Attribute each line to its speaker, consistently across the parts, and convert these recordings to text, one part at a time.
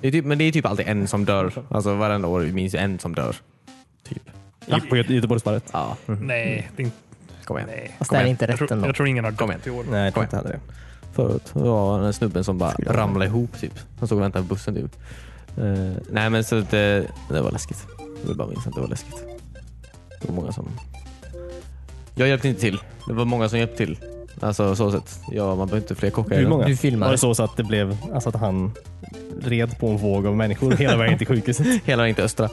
Speaker 1: Det är typ, men det är typ alltid en som dör. Alltså varenda år minns jag en som dör. Typ.
Speaker 2: I, på Göte- Göteborgsvarvet.
Speaker 1: Ja.
Speaker 3: Nej, det är inte,
Speaker 1: Kom igen.
Speaker 3: nej.
Speaker 4: Fast det är inte
Speaker 3: Jag,
Speaker 4: rätt
Speaker 3: tror,
Speaker 4: ändå.
Speaker 3: jag tror ingen har
Speaker 1: Kom
Speaker 3: dött i år.
Speaker 2: Nej, jag tror inte heller det.
Speaker 1: Förut det var den snubben som bara
Speaker 4: Skulle jag-
Speaker 1: ramlade ihop typ. Han stod och väntade på bussen typ. Eh, nej men så det, det var läskigt. Jag vill bara minnas att det var läskigt. Det var många som... Jag hjälpte inte till. Det var många som hjälpte till. Alltså så sett. Ja, man behöver inte fler kockar.
Speaker 2: Hur många?
Speaker 4: Du
Speaker 2: Var
Speaker 4: filmade.
Speaker 2: det så, så att det blev alltså att han red på en våg av människor hela vägen till sjukhuset?
Speaker 1: Hela inte östra.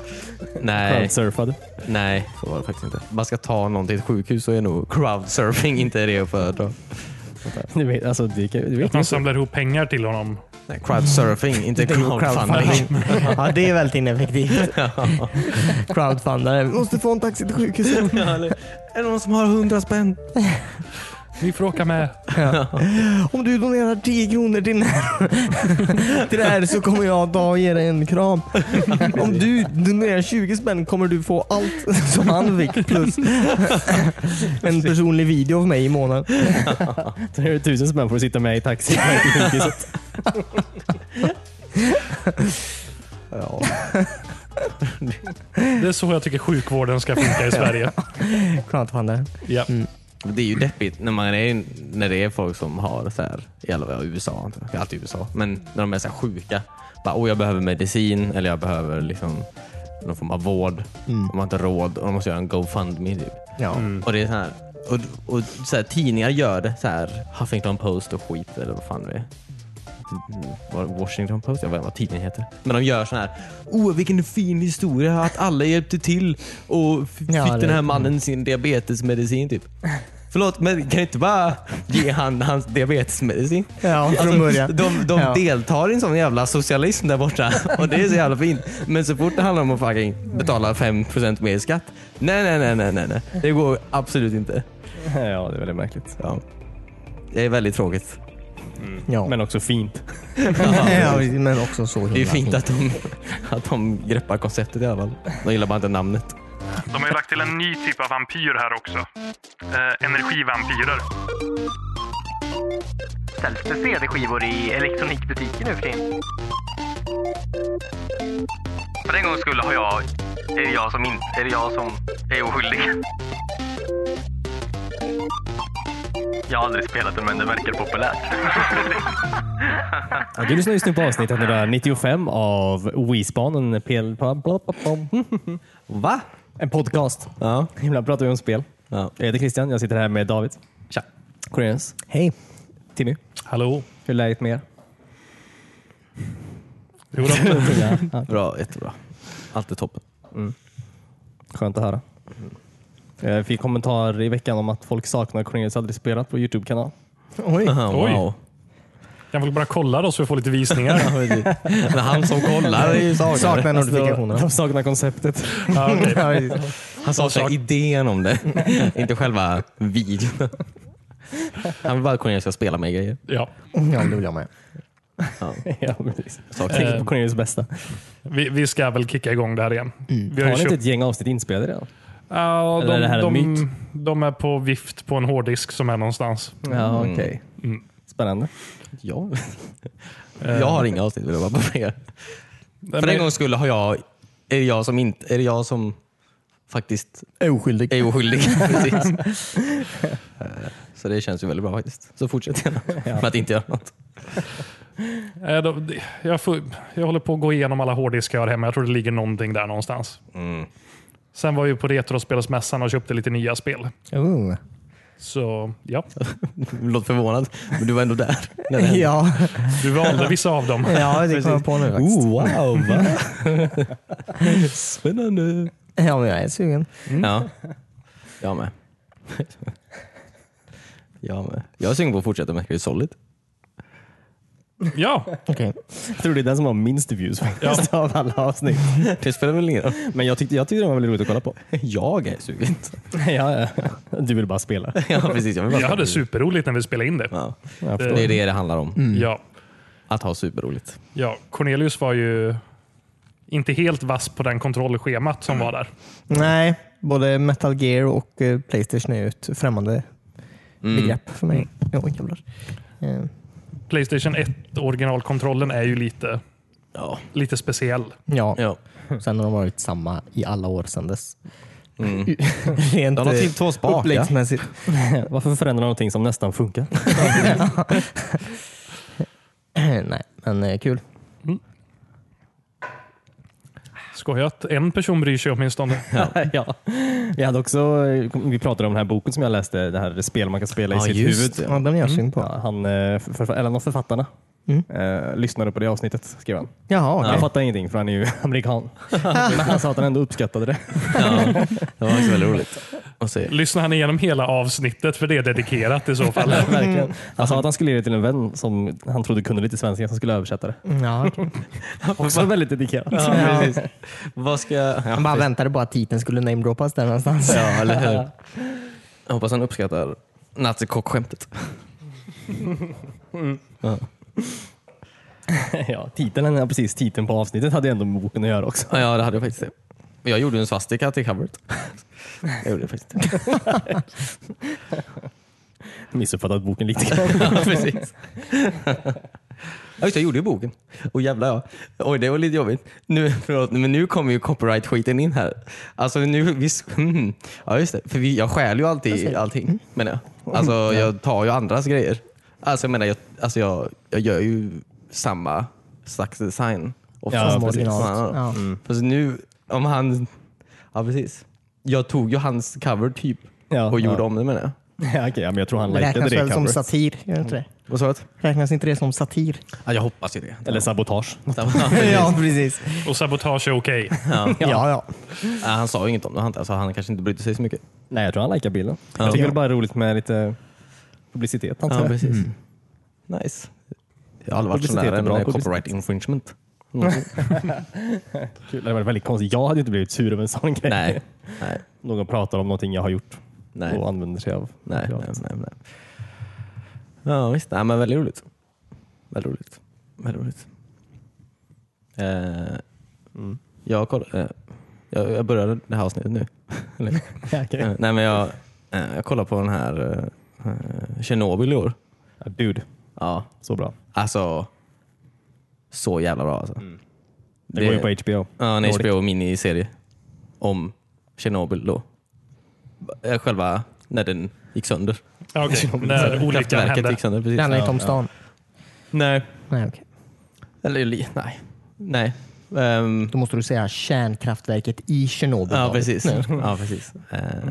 Speaker 1: Nej,
Speaker 2: Crowdsurfade.
Speaker 1: nej, så var det faktiskt inte. Man ska ta någon till ett sjukhus så är nog crowdsurfing inte det att föredra.
Speaker 2: Du vet, alltså, det, kan- du
Speaker 3: Att
Speaker 2: vet
Speaker 3: man
Speaker 2: inte.
Speaker 3: samlar ihop pengar till honom.
Speaker 1: Nej, crowdsurfing, inte
Speaker 4: Det är ju
Speaker 1: crowdfunding.
Speaker 4: ja, det är väldigt ineffektivt. Crowdfundare. Vi måste få en taxi till sjukhuset.
Speaker 1: Ja, eller, är det någon som har hundra spänn?
Speaker 3: Ni får åka med.
Speaker 4: Om du donerar 10 kronor till, när- till det här så kommer jag ta och ge dig en kram. Om du donerar 20 spänn kommer du få allt som han fick plus en personlig video av mig i månaden.
Speaker 2: Sen är det tusen spänn för att sitta med i taxi på väg till sjukhuset.
Speaker 1: Ja.
Speaker 3: Det är så jag tycker sjukvården ska funka i Sverige.
Speaker 4: Crowdfundare.
Speaker 3: Ja.
Speaker 2: Mm.
Speaker 1: Men Det är ju deppigt när, man är, när det är folk som har så här, i alla fall USA, antar jag. Det är alltid USA, men när de är så här sjuka. Bara, oh, jag behöver medicin eller jag behöver liksom någon form av vård.
Speaker 4: Mm.
Speaker 1: De har inte råd och de måste göra en GoFundMe. Typ.
Speaker 4: Ja.
Speaker 1: Och det är så här, och, och så här, tidningar gör det. Så här, Huffington Post och skit eller vad fan det är. Var- Washington Post, jag vet inte vad tidningen heter. Men de gör sån här, oh vilken fin historia att alla hjälpte till och f-
Speaker 4: Ja,
Speaker 1: fick den
Speaker 4: det-
Speaker 1: här mannen sin diabetesmedicin typ. Förlåt, men kan du inte bara ge han hans diabetesmedicin?
Speaker 4: Ja, från början.
Speaker 1: Alltså, De, de
Speaker 4: Ja.
Speaker 1: deltar i en sån jävla socialism där borta och det är så jävla fint. Men så fort det handlar om att fucking betala 5% mer i skatt. Nej, nej, nej, nej, nej, nej. Det går absolut inte.
Speaker 2: Ja, det är väldigt märkligt.
Speaker 1: Ja. Det är väldigt tråkigt.
Speaker 4: Ja.
Speaker 2: Men också fint.
Speaker 4: ja, men också så himla
Speaker 1: Det är ju fint att de, att de greppar konceptet i alla fall. De gillar bara inte namnet.
Speaker 3: De har ju lagt till en ny typ av vampyr här också. Eh, energivampyrer.
Speaker 5: Säljs det CD-skivor i elektronikbutiker nu för tiden? För en gångs skull har jag... Är det jag som inte... Är det jag som är oskyldig? Jag har aldrig spelat den, men det verkar populärt.
Speaker 2: Ja, du lyssnar just nu på avsnitt 195 av Wisbanen. PL...
Speaker 1: Va?
Speaker 2: mm, En podcast.
Speaker 1: Ja.
Speaker 2: Ibland pratar vi om spel.
Speaker 1: ja.
Speaker 2: Jag heter Christian. Jag sitter här med David. Tja. Cornelius.
Speaker 4: Hej.
Speaker 2: Timmy.
Speaker 3: Hallå?
Speaker 2: Hur är läget med er?
Speaker 3: Jo då.
Speaker 2: Ja,
Speaker 1: Bra, jättebra. Allt är toppen.
Speaker 2: skönt att höra. Jag fick kommentarer i veckan om att folk saknar Cornelius aldrig spelat på Youtube-kanal.
Speaker 4: Oj.
Speaker 1: Aha,
Speaker 3: Oj.
Speaker 1: wow.
Speaker 3: Jag vill bara kolla då så vi får lite visningar.
Speaker 1: Men han som kollar är ju saknare.
Speaker 4: Saknar
Speaker 2: Alltså,
Speaker 4: notifikationerna.
Speaker 2: De saknar konceptet.
Speaker 3: Ja, okej.
Speaker 4: Ja, precis.
Speaker 1: Han sa sig idén om det, inte själva videon. Han vill bara att Cornelius ska spela med grejer.
Speaker 3: ja.
Speaker 4: ja, det vill jag med.
Speaker 2: ja, precis.
Speaker 1: Saker.
Speaker 2: Tänker på Cornelius bästa.
Speaker 3: Vi, vi ska väl kicka igång det här igen. Vi
Speaker 2: Mm.
Speaker 3: har
Speaker 2: Har
Speaker 3: ju
Speaker 2: ni inte
Speaker 3: köpt,
Speaker 2: ett gäng avsnitt inspelade redan?
Speaker 3: Ja,
Speaker 2: Eller är det här en
Speaker 3: de, de,
Speaker 2: myt?
Speaker 3: de är på vift på en hårddisk som är någonstans.
Speaker 2: Ja, okej. Mm. Spännande.
Speaker 1: Ja. Jag har inga avsnitt vill jag bara påpeka. För Eh, en gångs skull har jag, är det jag som, inte, är det jag som faktiskt
Speaker 4: Oskyldig.
Speaker 1: är oskyldig. Precis. Eh, Så det känns ju väldigt bra faktiskt. Så fortsätt gärna med att inte göra något.
Speaker 3: Eh, de- Jag, får, jag håller på att gå igenom alla hårddiskar jag har hemma. Jag tror det ligger någonting där någonstans. Sen var jag ju på Retrospelsmässan och köpte lite nya spel.
Speaker 4: Oh.
Speaker 3: Så ja,
Speaker 1: Låt förvånad, men du var ändå där. när det hände.
Speaker 4: Ja,
Speaker 3: du valde vissa av dem.
Speaker 4: ja, det kom jag på nu faktiskt.
Speaker 1: wow, va? Spännande.
Speaker 4: Ja, men jag är sugen.
Speaker 1: Ja. Jag med. Jag med. Jag är sugen på att fortsätta med Chris Solid.
Speaker 3: Ja,
Speaker 4: Okej.
Speaker 2: Jag tror det är den som har minst views faktiskt av alla avsnitt.
Speaker 1: Det spelar väl ingen roll.
Speaker 2: Men jag tyckte, jag tyckte den var väldigt roligt att kolla på.
Speaker 1: Jag är sugen.
Speaker 2: ja, ja. Du vill bara spela.
Speaker 1: Ja, precis. Jag vill bara
Speaker 3: jag hade superroligt när vi spelade in det. Eh,
Speaker 1: Ja.
Speaker 2: Jag förstår.
Speaker 1: Det Mm. är det det handlar om.
Speaker 3: Ja,
Speaker 1: Att ha superroligt.
Speaker 3: ja, Cornelius var ju inte helt vass på den kontrollschemat som var där.
Speaker 4: Nej, både Metal Gear och eh, Playstation är ju ett
Speaker 1: Mm.
Speaker 4: främmande begrepp för mig. Oj, jävlar. Eh,
Speaker 3: Playstation 1 originalkontrollen är ju lite
Speaker 1: Ja.
Speaker 3: lite speciell.
Speaker 4: Ja.
Speaker 1: ja.
Speaker 4: Sen har de varit samma i alla år sedan dess.
Speaker 1: Mm.
Speaker 4: Rent
Speaker 1: De har
Speaker 4: eh,
Speaker 1: till två spakar.
Speaker 4: uppläggsmässigt.
Speaker 2: Varför förändra någonting som nästan funkar?
Speaker 4: Nej, men eh, kul.
Speaker 3: Skoj att en person bryr sig åtminstone.
Speaker 2: ja. Vi, hade också, vi pratade om den här boken som jag läste, det här spel man kan spela i
Speaker 1: Ja,
Speaker 2: sitt
Speaker 1: just
Speaker 2: huvud.
Speaker 1: det.
Speaker 4: Ja, den är jag synd på.
Speaker 2: Ja, han, eh, förf- eller någon av författarna eh, lyssnade på det avsnittet, skrev han.
Speaker 4: Jaha,
Speaker 2: Han
Speaker 4: Mm. okej.
Speaker 2: fattade ingenting för han är ju amerikan. Men han sa att han ändå uppskattade det.
Speaker 4: Mm.
Speaker 1: Det var faktiskt väldigt roligt att se.
Speaker 3: Lyssnar han igenom hela avsnittet för det är dedikerat i så fall.
Speaker 2: Verkligen. Han sa att han skulle ge det till en vän som han trodde kunde lite svenska som skulle översätta det.
Speaker 4: Ja, okej.
Speaker 2: Också väldigt dedikerat.
Speaker 4: Ja.
Speaker 1: Vad ska jag...
Speaker 4: Han bara väntade på att titeln skulle namedroppas där någonstans.
Speaker 1: Ja, eller hur? Jag hoppas han uppskattar nazikockskämtet.
Speaker 2: ja, titeln, ja, precis, titeln på avsnittet hade ju ändå med boken att göra också.
Speaker 1: Ja, det hade jag faktiskt. det. Jag gjorde en svastika till coveret. Jag gjorde det faktiskt.
Speaker 2: Missuppfattat boken lite grann.
Speaker 1: Ja, precis. Ja, just det, jag gjorde ju boken. Och jävlar ja. Oj, det var lite jobbigt. Nu, förlåt, men nu kommer ju copyright-skiten in här. Alltså nu, vi, mm. Ja, just det. För vi, jag stjäl Mm. ju alltid allting, menar jag. Alltså jag tar ju andras grejer. Alltså jag menar, jag, alltså, jag, jag gör ju samma slags design. Och
Speaker 2: Ja,
Speaker 1: fast-
Speaker 2: precis.
Speaker 1: som han har.
Speaker 4: Ja.
Speaker 1: Fast nu, om han... Ja, precis. Jag tog ju hans cover typ
Speaker 2: Ja,
Speaker 1: och gjorde
Speaker 2: ja.
Speaker 1: om det menar jag.
Speaker 2: ja, okej, ja, men jag tror han
Speaker 4: Det
Speaker 2: likade
Speaker 4: räknas
Speaker 2: det
Speaker 4: väl som
Speaker 2: coveret.
Speaker 4: satir? Gör det inte det?
Speaker 1: Vad sa du?
Speaker 4: Räknas inte det som satir?
Speaker 1: Ja, jag hoppas ju det.
Speaker 2: Eller sabotage.
Speaker 4: ja, precis.
Speaker 3: Och sabotage är okej.
Speaker 4: Ja, ja.
Speaker 1: Ja, han sa ju inget om det, han- alltså, han kanske inte brydde sig så mycket.
Speaker 2: Nej, jag tror han likar bilden. Jag tycker det är bara roligt med lite publicitet. antar
Speaker 1: Ja,
Speaker 2: jag.
Speaker 1: precis. Nice. Mm. Jag har aldrig varit så
Speaker 2: Publicitet
Speaker 1: nära
Speaker 2: är bra,
Speaker 1: en
Speaker 2: publicitet.
Speaker 1: copyright infringement.
Speaker 2: Kul. Det hade varit väldigt konstigt. Jag hade ju inte blivit sur över en sån grej.
Speaker 1: Nej. Nej.
Speaker 2: Någon pratar om någonting jag har gjort
Speaker 1: Nej.
Speaker 2: och använder sig av.
Speaker 1: Nej, nej,
Speaker 2: materialet.
Speaker 1: nej, nej. Ja, visst. Nej, men väldigt roligt. Väldigt roligt. Väldigt roligt. Eh, jag, koll, eh, jag, jag började det här avsnittet nu. Eller,
Speaker 2: Ja, okej.
Speaker 1: eh, nej, men jag, eh, jag kollar på den här eh, eh, Tjernobyl i år.
Speaker 2: Ja, Dude,
Speaker 1: Ja,
Speaker 2: så bra.
Speaker 1: alltså så jävla bra alltså.
Speaker 2: Det,
Speaker 1: Det-
Speaker 2: går ju på HBO.
Speaker 1: Ja, en
Speaker 2: Nordic.
Speaker 1: HBO-miniserie om Tjernobyl då. Eh, Själva när den gick sönder.
Speaker 3: Ja, okej. När olyckan
Speaker 1: Kraftverket
Speaker 3: hände.
Speaker 1: gick sönder.
Speaker 4: Det
Speaker 1: Precis.
Speaker 4: handlar inte om stan.
Speaker 1: Nej.
Speaker 4: Nej, okej.
Speaker 1: Eller li- nej. Nej. Ehm,
Speaker 4: Då måste du säga kärnkraftverket i Tjernobyl.
Speaker 1: ja,
Speaker 4: David.
Speaker 1: precis. ja, precis. Eh,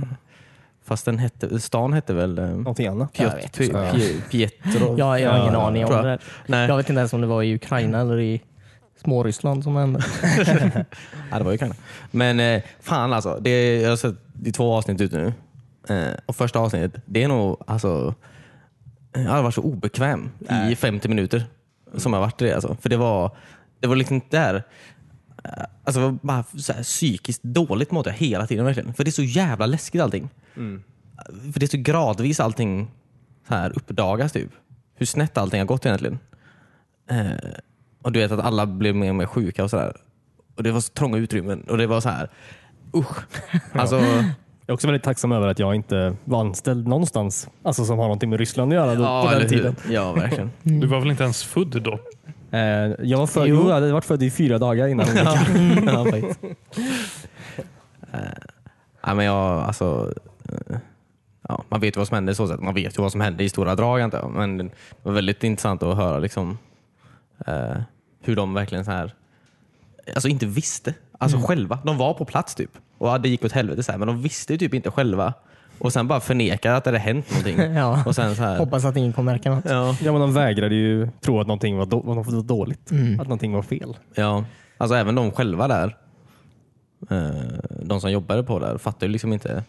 Speaker 1: fast den hette, stan hette väl um,
Speaker 2: Någonting annat.
Speaker 4: jag vet
Speaker 1: Piet,
Speaker 2: inte.
Speaker 1: Pie- Pietro?
Speaker 4: Ja, jag har ingen aning om
Speaker 1: tror
Speaker 4: det
Speaker 1: jag.
Speaker 4: där.
Speaker 1: Nej.
Speaker 4: Jag vet inte ens om det var i Ukraina eller i småryssland som hände.
Speaker 1: Ja, det var ju Ukraina. Men eh, fan alltså. Det, jag har sett, det är två avsnitt ute nu. Eh, och första avsnittet, det är nog alltså... eh, Jag har varit så obekväm i 50 minuter som jag har varit i det. Alltså. För det var, det var liksom där... eh, Alltså det var bara så här psykiskt dåligt mådde jag hela tiden verkligen. För det är så jävla läskigt allting. För det är så gradvis allting så här uppdagas typ. Hur snett allting har gått egentligen. Eh, och du vet att alla blev mer och mer sjuka och sådär. Och det var så trånga utrymmen och det var så här. usch. Alltså,
Speaker 2: Jag är också väldigt tacksam över att jag inte var anställd någonstans alltså som har någonting med Ryssland att göra då, på den
Speaker 1: eller hur?
Speaker 2: tiden.
Speaker 1: Ja, verkligen.
Speaker 3: Du var väl inte ens född då?
Speaker 2: Eh, jag, var född, jo. jag hade varit född i fyra dagar innan.
Speaker 1: ja, ja, faktiskt. Eh, nej, men jag, alltså, eh, ja, man vet ju vad som hände i så sätt. Man vet ju vad som hände i stora drag antar jag. Men det var väldigt intressant att höra liksom, eh, hur de verkligen så här, alltså inte visste. Alltså själva. De var på plats typ. Och ja, det gick åt helvete så här, men de visste ju typ inte själva. Och sen bara förnekar att det hade hänt någonting.
Speaker 4: Ja.
Speaker 1: Och sen så här,
Speaker 4: Hoppas att ingen kommer märka något.
Speaker 1: ja,
Speaker 2: Ja, men de vägrade ju tro att någonting var, då, var dåligt.
Speaker 1: Mm.
Speaker 2: Att någonting var fel.
Speaker 1: Ja, alltså även de själva där, eh, de som jobbade på där, fattar ju liksom inte.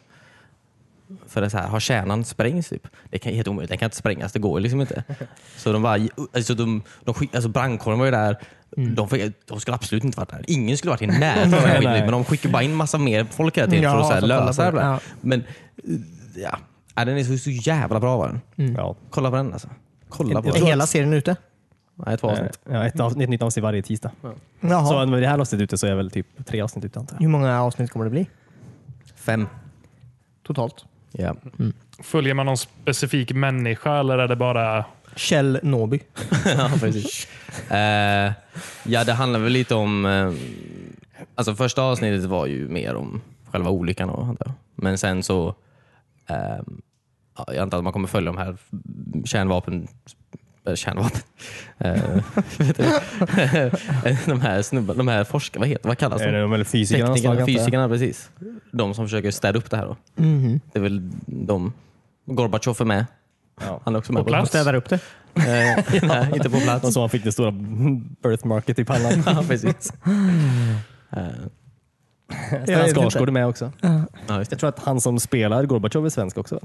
Speaker 1: För det är så här, har kärnan sprängts typ? Det kan, helt omöjligt, den kan inte sprängas, det går ju liksom inte. Så de bara, alltså, de, de, skick- alltså brandkåren var ju där, de, fick, de skulle absolut inte varit där. Ingen skulle varit i närheten av den här skiten,
Speaker 2: Nej.
Speaker 1: men de skickar bara in massa mer folk hela tiden för
Speaker 4: Ja,
Speaker 1: att så här,
Speaker 4: så kolla på
Speaker 1: lösa det.
Speaker 4: det.
Speaker 1: här.
Speaker 4: Ja.
Speaker 1: Men eh, ja, Nej, den är så, så jävla bra var den.
Speaker 2: Ja.
Speaker 1: Kolla på den alltså. Kolla på
Speaker 4: Är
Speaker 1: den.
Speaker 4: hela serien ute?
Speaker 1: Nej, två avsnitt.
Speaker 2: Eh, Ja, ett, avsnitt, ett nytt avsnitt varje tisdag.
Speaker 4: Jaha.
Speaker 2: Så med det här avsnittet ute så är jag väl typ tre avsnitt ute antar jag.
Speaker 4: Hur många avsnitt kommer det bli?
Speaker 1: Fem.
Speaker 4: Totalt?
Speaker 1: Ja.
Speaker 3: Följer man någon specifik människa eller är det bara
Speaker 4: Kjell Nåby.
Speaker 1: ja, precis. Eh, ja, det handlar väl lite om... eh, alltså första avsnittet var ju mer om själva olyckan. och sånt där. Men sen så... eh, ja, jag antar att man kommer följa de här kärnvapen... eh, Kärnvapen? Eh, vet du? de här snubbarna, de här forskarna, vad, heter, vad kallas
Speaker 2: Är
Speaker 1: de?
Speaker 2: det de eller fysikerna? som
Speaker 1: Teknikerna,
Speaker 2: har tagit det?
Speaker 1: fysikerna, precis. De som försöker städa upp det här. Då. Det är väl de. Gorbatjov är med. Han är också med.
Speaker 3: På plats?
Speaker 1: Städar upp det. Eh, nej, inte på plats.
Speaker 2: De som fick det stora birthmarket i typ pannan.
Speaker 1: ja, precis. Eh,
Speaker 2: Stellan Skarsgård är typ med också.
Speaker 1: ja, just det.
Speaker 2: Jag tror att han som spelar Gorbatjov är svensk också. va?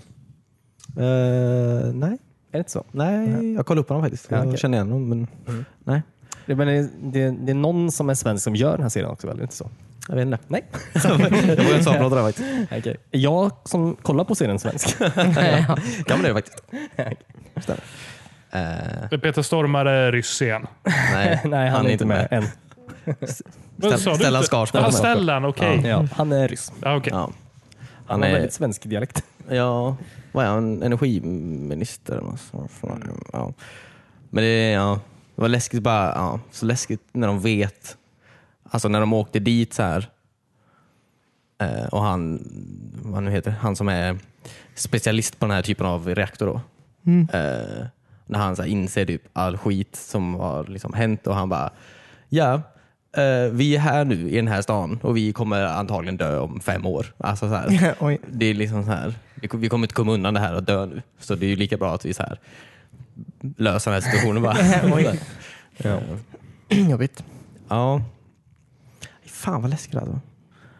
Speaker 1: Eh, nej,
Speaker 2: Är det inte så?
Speaker 1: nej, Mm. jag kollade upp honom faktiskt.
Speaker 2: Ja,
Speaker 1: Jag
Speaker 2: okej.
Speaker 1: känner igen honom, men nej.
Speaker 2: Det, men det, det, det är någon som är svensk som gör den här serien också, väl? Är det inte så?
Speaker 1: Jag vet inte. Nej. jag vågar inte svara på något där faktiskt.
Speaker 2: Okay. Jag som kollar på serien svensk.
Speaker 1: Kan man det faktiskt? Stämmer. Eh,
Speaker 3: Peter Stormare är ryss igen.
Speaker 1: nej,
Speaker 2: Nej, han, är inte med, än.
Speaker 3: Vad
Speaker 1: Ställ-
Speaker 3: sa du
Speaker 1: Stellan
Speaker 3: inte?
Speaker 1: Skarsgård.
Speaker 3: Ja, Stellan, okej. Ja.
Speaker 2: Ja, han är ryss.
Speaker 3: okej.
Speaker 1: Ja.
Speaker 2: Han,
Speaker 1: Han
Speaker 2: har
Speaker 1: är-
Speaker 2: väldigt svensk dialekt.
Speaker 1: Ja, vad är han? Energiminister eller något sånt. ja. Men det, ja, det var läskigt bara, ja, så läskigt när de vet. Alltså när de åkte dit så här. Eh, Och han, vad nu heter, han som är specialist på den här typen av reaktor då.
Speaker 4: Mm.
Speaker 1: Eh, när han så här inser typ all skit som har liksom hänt och han bara, ja, eh, vi är här nu i den här stan och vi kommer antagligen dö om fem år. Alltså så här.
Speaker 4: Oj.
Speaker 1: Det är liksom så här, vi kom- vi kommer inte komma undan det här och dö nu. Så det är ju lika bra att vi så här löser den här situationen bara.
Speaker 4: Oj.
Speaker 1: ja.
Speaker 4: Jobbigt.
Speaker 1: ja. Mm, Fan vad läskigt det här var.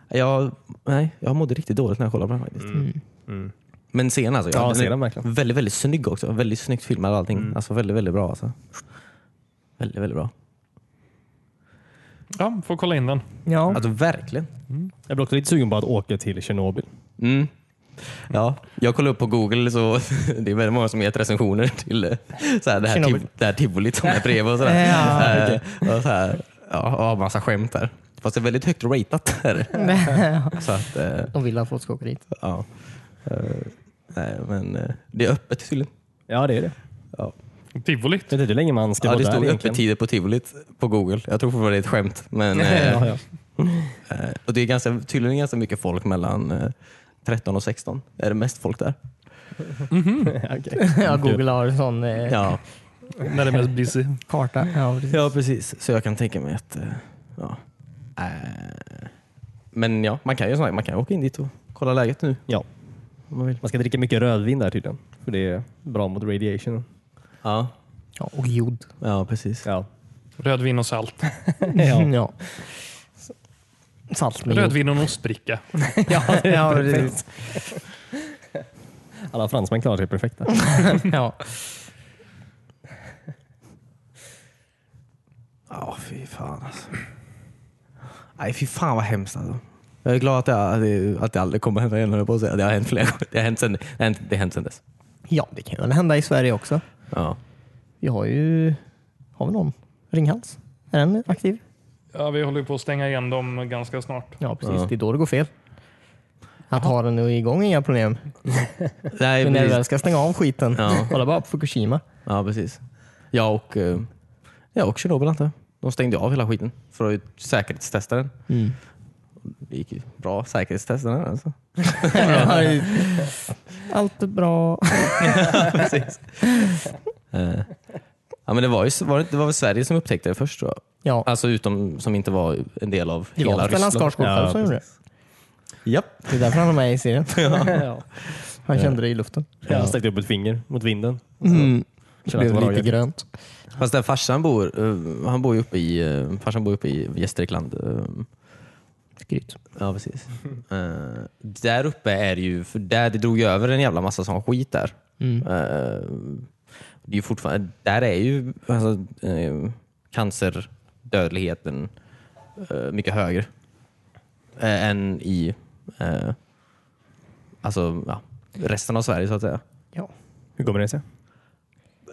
Speaker 1: Jag, nej, jag mådde riktigt dåligt när jag kollade på den faktiskt. Mm. Men scenen alltså.
Speaker 2: Ja,
Speaker 1: den är
Speaker 2: scenen verkligen.
Speaker 1: Väldigt, väldigt snygg också. Väldigt snyggt filmad och allting. Alltså väldigt, väldigt bra. Alltså. Väldigt, väldigt bra.
Speaker 3: Ja, får kolla in den.
Speaker 4: Ja.
Speaker 1: Alltså verkligen.
Speaker 2: Jag blir också lite sugen på att åka till Tjernobyl.
Speaker 1: Mm. Ja, jag kollade upp på Google så det är väldigt många som gett recensioner till eh, så här, det, här
Speaker 4: Tjernobyl.
Speaker 1: tiv- det här tivolit som är bredvid och sådär.
Speaker 4: Ja,
Speaker 1: Eh, och så här, ja, och har massa skämt där. Fast det är väldigt högt ratat där. så att, eh,
Speaker 4: De vill att folk ska åka dit.
Speaker 1: ja. Eh, Nej, men eh, det är öppet tydligen.
Speaker 2: Ja, det är det.
Speaker 1: Ja.
Speaker 3: Tivolit.
Speaker 2: Jag vet inte hur länge man ska
Speaker 1: Ja,
Speaker 2: vara
Speaker 1: det
Speaker 2: där
Speaker 1: stod
Speaker 2: egentligen.
Speaker 1: öppettider på tivolit på Google. Jag tror fortfarande det är ett skämt. Men, eh,
Speaker 2: Ja, ja.
Speaker 1: eh, och det är ganska, tydligen ganska mycket folk mellan eh, 13 och 16. Är det mest folk där?
Speaker 2: Okej.
Speaker 4: Ja, Google har en sån eh,
Speaker 1: Ja.
Speaker 3: När det är mest busy.
Speaker 4: karta. Ja, precis.
Speaker 1: Ja, precis. Så jag kan tänka mig att... eh, Ja. Eh, Men ja, man kan ju sån här- man kan ju åka in dit och kolla läget nu
Speaker 2: ja.
Speaker 1: om man vill.
Speaker 2: Man ska dricka mycket rödvin där tydligen. För det är bra mot radiation.
Speaker 1: Ja,
Speaker 4: Ja, och jod.
Speaker 1: ja precis.
Speaker 2: Ja.
Speaker 3: Rödvin och salt.
Speaker 2: ja.
Speaker 4: Ja. Salt med jod.
Speaker 3: Rödvin och en ostbricka.
Speaker 4: Ja, ja, precis.
Speaker 2: Alla fransmän klarar sig perfekt där.
Speaker 4: ja.
Speaker 1: Ja, fy fan alltså. Nej, fy fan vad hemskt alltså. Jag är glad att det, att det, att det aldrig kommer hända igen, höll jag på att säga. Det har hänt flera gånger. Det har hänt sen, det har hänt, det har hänt sen dess.
Speaker 4: ja, det kan väl hända i Sverige också.
Speaker 1: Ja.
Speaker 4: Vi har ju... Har vi någon? Ringhals? Är den aktiv?
Speaker 3: Ja, vi håller ju på att stänga igen dem ganska snart.
Speaker 4: Ja, precis.
Speaker 1: Ja.
Speaker 4: Det är då det går fel. Att ha den igång är inga problem.
Speaker 1: Nej,
Speaker 4: Men när du
Speaker 1: precis.
Speaker 4: väl ska stänga av skiten,
Speaker 1: Ja.
Speaker 4: kolla bara på Fukushima.
Speaker 1: Ja, precis. Jag och, eh, jag och Tjernobyl antar jag. De stängde av hela skiten för att säkerhetstesta den.
Speaker 4: Mm.
Speaker 1: Det gick ju bra säkerhetstest den här alltså.
Speaker 4: Allt är bra.
Speaker 1: Precis. Eh, ja, men det var, ju, var det, det var väl Sverige som upptäckte det först tror jag.
Speaker 4: Ja,
Speaker 1: Alltså utom som inte var en del av
Speaker 4: det
Speaker 1: hela
Speaker 4: var Stellan
Speaker 1: Ryssland.
Speaker 4: Skarsgård själv som gjorde det.
Speaker 1: Japp.
Speaker 4: Det är därför han är med i serien.
Speaker 2: ja.
Speaker 4: Han kände det i luften.
Speaker 2: Jag sträckte upp ett finger mot vinden.
Speaker 4: Mm. Det
Speaker 2: Känner att det
Speaker 4: blev
Speaker 2: var
Speaker 4: lite
Speaker 2: lagat.
Speaker 4: grönt.
Speaker 1: Fast där farsan bor, eh, han bor ju uppe i, eh, farsan bor ju uppe i Gästrikland. eh,
Speaker 4: Skryt.
Speaker 1: Ja, precis. Eh, där uppe är det ju, för där det drog ju över en jävla massa sån skit där. Eh, det är ju fortfarande, där är ju alltså, eh, cancerdödligheten eh, mycket högre eh, än i eh, alltså, ja, resten av Sverige så att säga.
Speaker 4: Ja.
Speaker 2: Hur kommer det sig?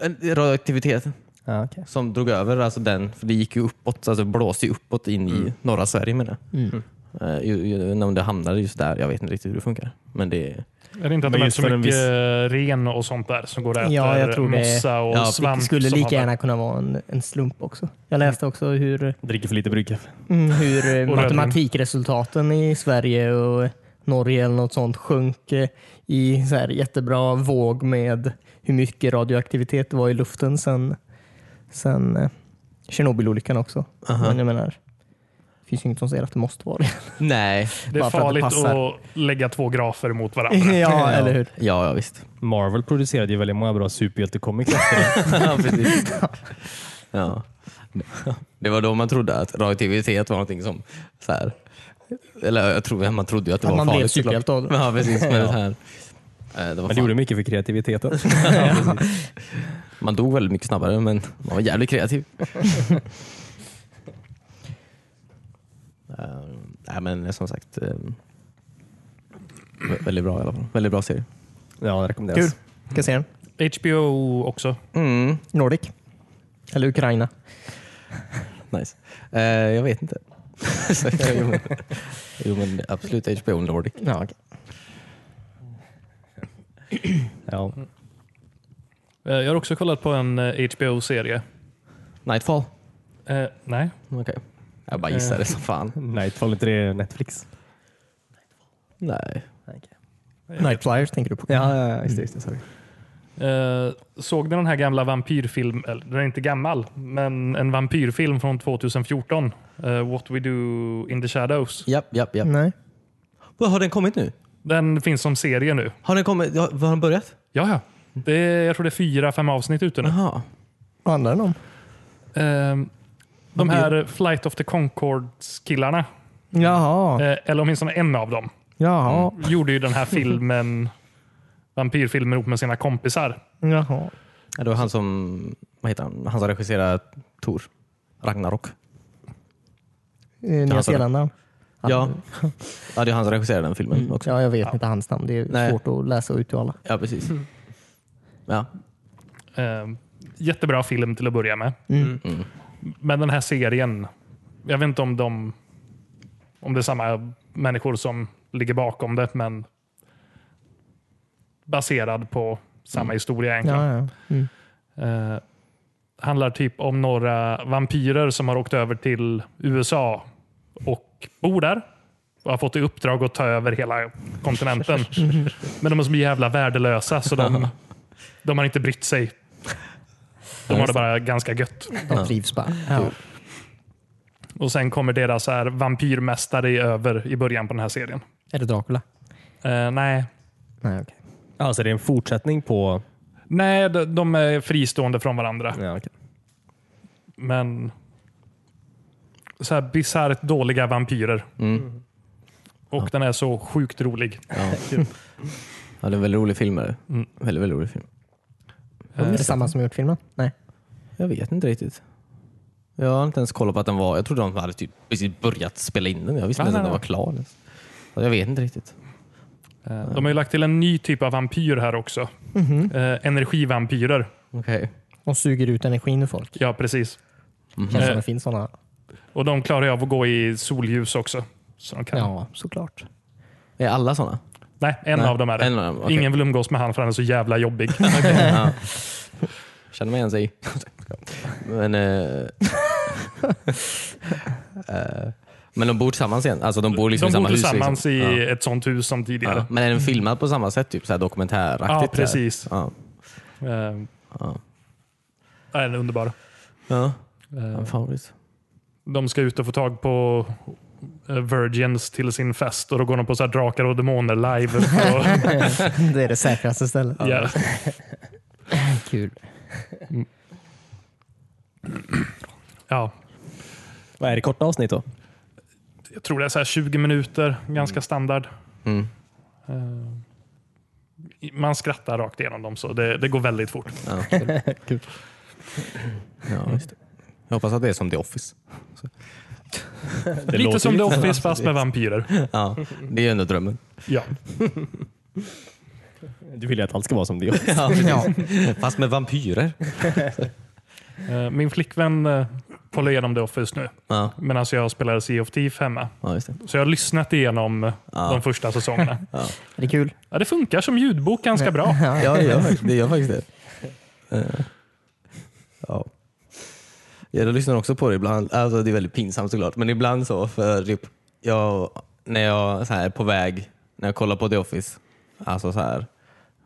Speaker 1: En- Radioaktiviteten
Speaker 2: Ja, okej. Mm.
Speaker 4: Mm.
Speaker 1: som drog över, alltså den, för det gick ju uppåt, alltså det blåste ju uppåt in i norra Sverige menar jag. Eh, ju- ju- Om det hamnade just där, jag vet inte riktigt hur det funkar. Men det är
Speaker 3: Är det inte att
Speaker 2: Men
Speaker 3: de
Speaker 2: just
Speaker 3: äter så
Speaker 2: för en
Speaker 3: mycket ren och sånt där som går och äter
Speaker 4: Ja, jag tror det.
Speaker 3: mossa och
Speaker 1: Ja,
Speaker 3: svamp?
Speaker 4: Det skulle
Speaker 3: som
Speaker 4: lika
Speaker 3: har-
Speaker 4: gärna kunna vara en, en slump också. Jag läste också hur,
Speaker 2: Dricker för lite bryggkaffe.
Speaker 4: mm, hur eh,
Speaker 3: Och rödvin.
Speaker 4: matematikresultaten i Sverige och Norge eller något sånt sjönk eh, i så här jättebra våg med hur mycket radioaktivitet det var i luften sen, sen eh, Tjernobylolyckan också. Men jag menar, det finns ju inget som säger att det måste vara det.
Speaker 1: Nej.
Speaker 3: Det är
Speaker 4: bara för att det
Speaker 3: farligt
Speaker 4: passar.
Speaker 3: att lägga två grafer mot varandra.
Speaker 4: ja, eller hur?
Speaker 1: Ja, ja visst.
Speaker 2: Marvel producerade ju väldigt många bra superhjältecomics efter det.
Speaker 1: ja, precis. Ja. Det var då man trodde att radioaktivitet var någonting som... Så här, eller jag tror, man trodde ju att det
Speaker 4: Att
Speaker 1: var
Speaker 4: man blev
Speaker 1: farligt. såklart.
Speaker 4: superhjälte av det.
Speaker 1: Ja, precis. Men det här, eh, det var
Speaker 2: Men
Speaker 1: fan-
Speaker 2: det gjorde mycket för kreativiteten.
Speaker 1: Ja, precis. Man dog väldigt mycket snabbare, men man var jävligt kreativ. Eh, Nej, men som sagt. eh, vä- väldigt bra i alla fall. Väldigt bra serie.
Speaker 2: Ja, det rekommenderas.
Speaker 4: Kul. Ska se den.
Speaker 3: HBO också.
Speaker 1: Mm,
Speaker 4: Nordic. Eller Ukraina.
Speaker 1: nice. Eh, jag vet inte. Så, eh, jo, men, jo, men absolut HBO Nordic.
Speaker 4: Ja, okej.
Speaker 2: Ja.
Speaker 3: Eh, Jag har också kollat på en eh, HBO-serie.
Speaker 1: Nightfall.
Speaker 3: Eh, nej.
Speaker 1: Okej. Jag bara gissade som fan.
Speaker 2: Nightfall, inte det Netflix?
Speaker 1: Nej.
Speaker 4: Night Flyers tänker du på?
Speaker 2: Ja, ja, ja, just det. Just det sorry.
Speaker 3: Eh, såg ni den här gamla vampyrfilmen? Eller, den är inte gammal, men en vampyrfilm från 2014. eh, What we do in the shadows.
Speaker 1: Japp, japp, japp.
Speaker 4: Nej.
Speaker 1: Mm. Vad, Har den kommit nu?
Speaker 3: Den finns som serie nu.
Speaker 1: Har den kommit? ja, Har den börjat?
Speaker 3: Ja, ja. Det är, jag tror det är fyra, fem avsnitt ute nu.
Speaker 1: Jaha.
Speaker 4: Vad handlar den om?
Speaker 3: Eh, de här Flight of the Concords killarna
Speaker 4: Jaha.
Speaker 3: eh, eller åtminstone en av dem,
Speaker 4: Jaha.
Speaker 3: gjorde ju den här filmen, vampyrfilmen ihop med sina kompisar.
Speaker 4: Jaha.
Speaker 1: Ja, det var han som, vad heter han? Han som regisserade Tor. Ragnarok.
Speaker 4: Eh, Nya
Speaker 1: alltså-
Speaker 4: Zeeland.
Speaker 1: Ja. ja, det är han som regisserade den filmen också.
Speaker 4: Mm. Ja, jag vet inte hans namn. Det är
Speaker 1: Nej.
Speaker 4: svårt att läsa och uttala.
Speaker 1: Ja, precis. Ja.
Speaker 3: Eh, jättebra film till att börja med.
Speaker 4: Mm.
Speaker 1: Mm.
Speaker 3: Men den här serien, jag vet inte om de om det är samma människor som ligger bakom det, men baserad på samma historia egentligen.
Speaker 4: Ja, ja. Mm.
Speaker 3: Eh, handlar typ om några vampyrer som har åkt över till USA och bor där och har fått i uppdrag att ta över hela kontinenten. Men de är så jävla värdelösa så de, de har inte brytt sig. De har det bara ganska gött.
Speaker 4: De trivs bara. Ja.
Speaker 3: Och Sen kommer deras så här vampyrmästare i över i början på den här serien.
Speaker 4: Är det Dracula?
Speaker 3: Eh, nej,
Speaker 4: Nej, okej.
Speaker 2: Alltså, det är en fortsättning på...
Speaker 3: nej de, de är fristående från varandra.
Speaker 2: Ja, okej.
Speaker 3: Men så här bisarrt dåliga vampyrer. Och den är så sjukt rolig.
Speaker 1: Mm. Ja. ja, det är en väldigt rolig film. är det.
Speaker 3: Mm.
Speaker 1: Väldigt, väldigt rolig film.
Speaker 4: Är det samma som gjort filmen? Nej.
Speaker 1: Jag vet inte riktigt. Jag har inte ens kollat på att den var... Jag trodde de hade typ precis börjat spela in den. Jag visste
Speaker 3: Nej,
Speaker 1: inte ens att
Speaker 3: nej,
Speaker 1: den var klar. ens. Så Jag vet inte riktigt.
Speaker 3: Eh, De har ju lagt till en ny typ av vampyr här också.
Speaker 1: Mhm.
Speaker 3: Eh, energivampyrer.
Speaker 1: Okej.
Speaker 4: De suger ut energin ur folk.
Speaker 3: Ja, precis.
Speaker 4: Känns som
Speaker 3: Eh.
Speaker 4: det finns sådana.
Speaker 3: Och de klarar ju av att gå i solljus också. Så de kan.
Speaker 4: Ja, såklart.
Speaker 1: Är alla sådana?
Speaker 3: Nej, en
Speaker 1: Nej,
Speaker 3: av dem är det.
Speaker 1: en av dem, okej.
Speaker 3: Ingen vill umgås med han för han är så jävla jobbig.
Speaker 1: ja. Känner mig igen sig i. Men, eh, eh, men de bor tillsammans igen? Alltså de bor liksom
Speaker 3: de
Speaker 1: i
Speaker 3: bor
Speaker 1: samma hus?
Speaker 3: tillsammans
Speaker 1: liksom.
Speaker 3: i
Speaker 1: Ja.
Speaker 3: ett sånt hus som tidigare.
Speaker 1: Ja. Men är den filmad på samma sätt? Typ så här dokumentäraktigt?
Speaker 3: Ja, precis.
Speaker 1: så här? Ja.
Speaker 3: Eh,
Speaker 1: Ja.
Speaker 3: nej, den är underbar.
Speaker 1: Ja.
Speaker 3: Eh,
Speaker 1: En favorit.
Speaker 3: De ska ut och få tag på eh, Virgins till sin fest och då går de på så här drakar och demoner live. Och,
Speaker 4: Det är det säkraste stället.
Speaker 3: ja.
Speaker 4: Kul.
Speaker 3: Ja,
Speaker 2: Vad är det korta avsnitt då?
Speaker 3: jag tror det är så här 20 minuter, ganska standard.
Speaker 1: Mm.
Speaker 3: Eh, Man skrattar rakt igenom dem, så det, det går väldigt fort.
Speaker 1: Ja, kul. ja, just det. Jag hoppas att det är som The Office.
Speaker 3: lite
Speaker 2: låter
Speaker 3: som The
Speaker 2: lite
Speaker 3: Office fast med vampyrer.
Speaker 1: Ja, det är ju ändå drömmen.
Speaker 3: Ja.
Speaker 2: Du vill ju att allt ska vara som det är.
Speaker 1: Ja,
Speaker 4: Ja.
Speaker 1: Fast med vampyrer.
Speaker 3: Eh, Min flickvän eh, kollar igenom The Office nu
Speaker 1: Ja,
Speaker 3: medan jag spelade Sea of Thief hemma.
Speaker 1: ja just det.
Speaker 3: Så jag har lyssnat igenom eh, de första säsongerna.
Speaker 4: Det är kul.
Speaker 3: Ja, det funkar som ljudbok ganska bra.
Speaker 1: Ja, det gör faktiskt det. Gör faktiskt det. Eh, ja. Jag lyssnar också på det ibland. Alltså, det är väldigt pinsamt såklart, men ibland så. För typ, jag, när jag så här, är på väg, när jag kollar på The Office, alltså så här,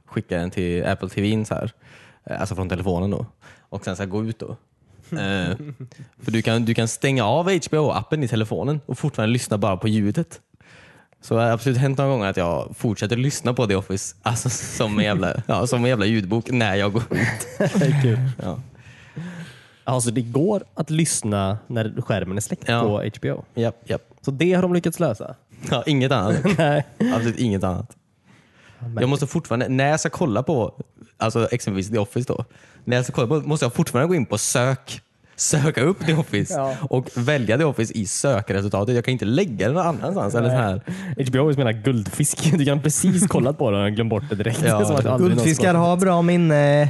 Speaker 1: skickar den till Apple TVn, så här, eh, alltså från telefonen då, och sen så här, gå ut då. Eh, för du kan, du kan stänga av HBO-appen i telefonen och fortfarande lyssna bara på ljudet. Så det har absolut hänt några gånger att jag fortsätter lyssna på The Office alltså, som, en jävla, ja, som en jävla ljudbok när jag går ut.
Speaker 2: Kul.
Speaker 1: Ja.
Speaker 2: Alltså det går att lyssna när skärmen är släckt
Speaker 1: Ja.
Speaker 2: på HBO.
Speaker 1: Japp, japp.
Speaker 2: Så det har de lyckats lösa.
Speaker 1: Ja, inget annat.
Speaker 2: Nej.
Speaker 1: Absolut inget annat. Jag måste fortfarande, när jag ska kolla på alltså exempelvis The Office då, när jag ska kolla på, måste jag fortfarande gå in på sök, söka upp The Office
Speaker 2: Ja.
Speaker 1: och välja The Office i sökresultatet. Jag kan inte lägga det någon annanstans. Eller så här.
Speaker 2: HBO är som en guldfisk. Du kan precis kollat på den och glömt bort det direkt.
Speaker 1: Ja.
Speaker 2: Det är som att aldrig någon
Speaker 4: Guldfiskar
Speaker 2: kollat.
Speaker 4: har bra minne.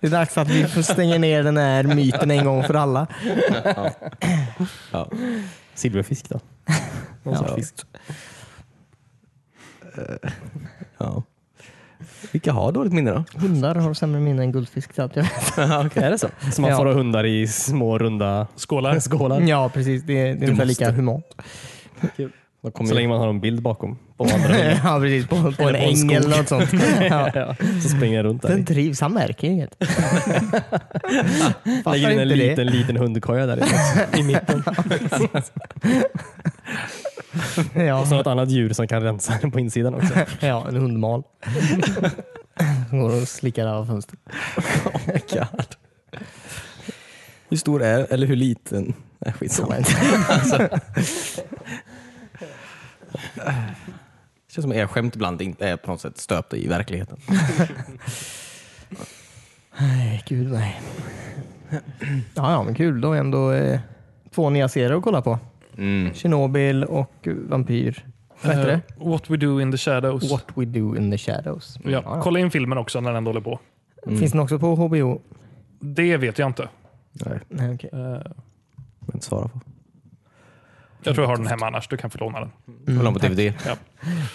Speaker 4: det är dags att vi får stänga ner den här myten en gång för alla.
Speaker 1: Ja.
Speaker 2: Silverfisk då? Någon sorts fisk.
Speaker 1: Ja. Vilka har dåligt minne då?
Speaker 4: Hundar har sämre minne än guldfisk. Så att jag vet.
Speaker 2: Är det så? Som man
Speaker 4: Ja.
Speaker 2: får ha hundar i små runda
Speaker 3: Skålar.
Speaker 2: skålar.
Speaker 4: Ja, precis. Det, det är ungefär lika humant.
Speaker 1: De kommer
Speaker 2: Så
Speaker 1: ju-
Speaker 2: länge man har en bild bakom på andra hundar
Speaker 4: ja, precis. På,
Speaker 2: Eller på
Speaker 4: på en
Speaker 2: en
Speaker 4: äng
Speaker 2: skog.
Speaker 4: eller något sånt. Ja.
Speaker 2: ja, så springer den runt där.
Speaker 4: Den
Speaker 2: i.
Speaker 4: trivs, han märker inget. Fattar
Speaker 2: Lägger in en
Speaker 4: inte det.
Speaker 2: liten, liten hundkoja där i, i mitten.
Speaker 4: Ja,
Speaker 2: Och så något annat djur som kan rensa den på insidan också.
Speaker 4: ja en hundmal. Som går och slickar av fönstret.
Speaker 1: God. Hur stor är eller hur liten? Nej, skitsamma. Alltså.
Speaker 4: Så.
Speaker 1: Det känns som er skämt ibland inte är på något sätt stöpta i verkligheten.
Speaker 4: Nej, gud nej. Ja, ja, men kul. Då har vi ändå eh, två nya serier att kolla på. Mm. Chernobyl och Vampyr. Vad heter det?
Speaker 3: Eh, What we do in the shadows.
Speaker 4: What We Do In The Shadows. Mm.
Speaker 3: Ja, kolla in filmen också när den ändå håller på.
Speaker 4: Finns den också på HBO?
Speaker 3: Det vet jag inte.
Speaker 1: Nej,
Speaker 4: Nej, okej.
Speaker 3: Eh,
Speaker 1: jag inte svara på.
Speaker 3: Jag tror jag har den hemma annars. Du kan få låna den.
Speaker 1: Kolla på DVD.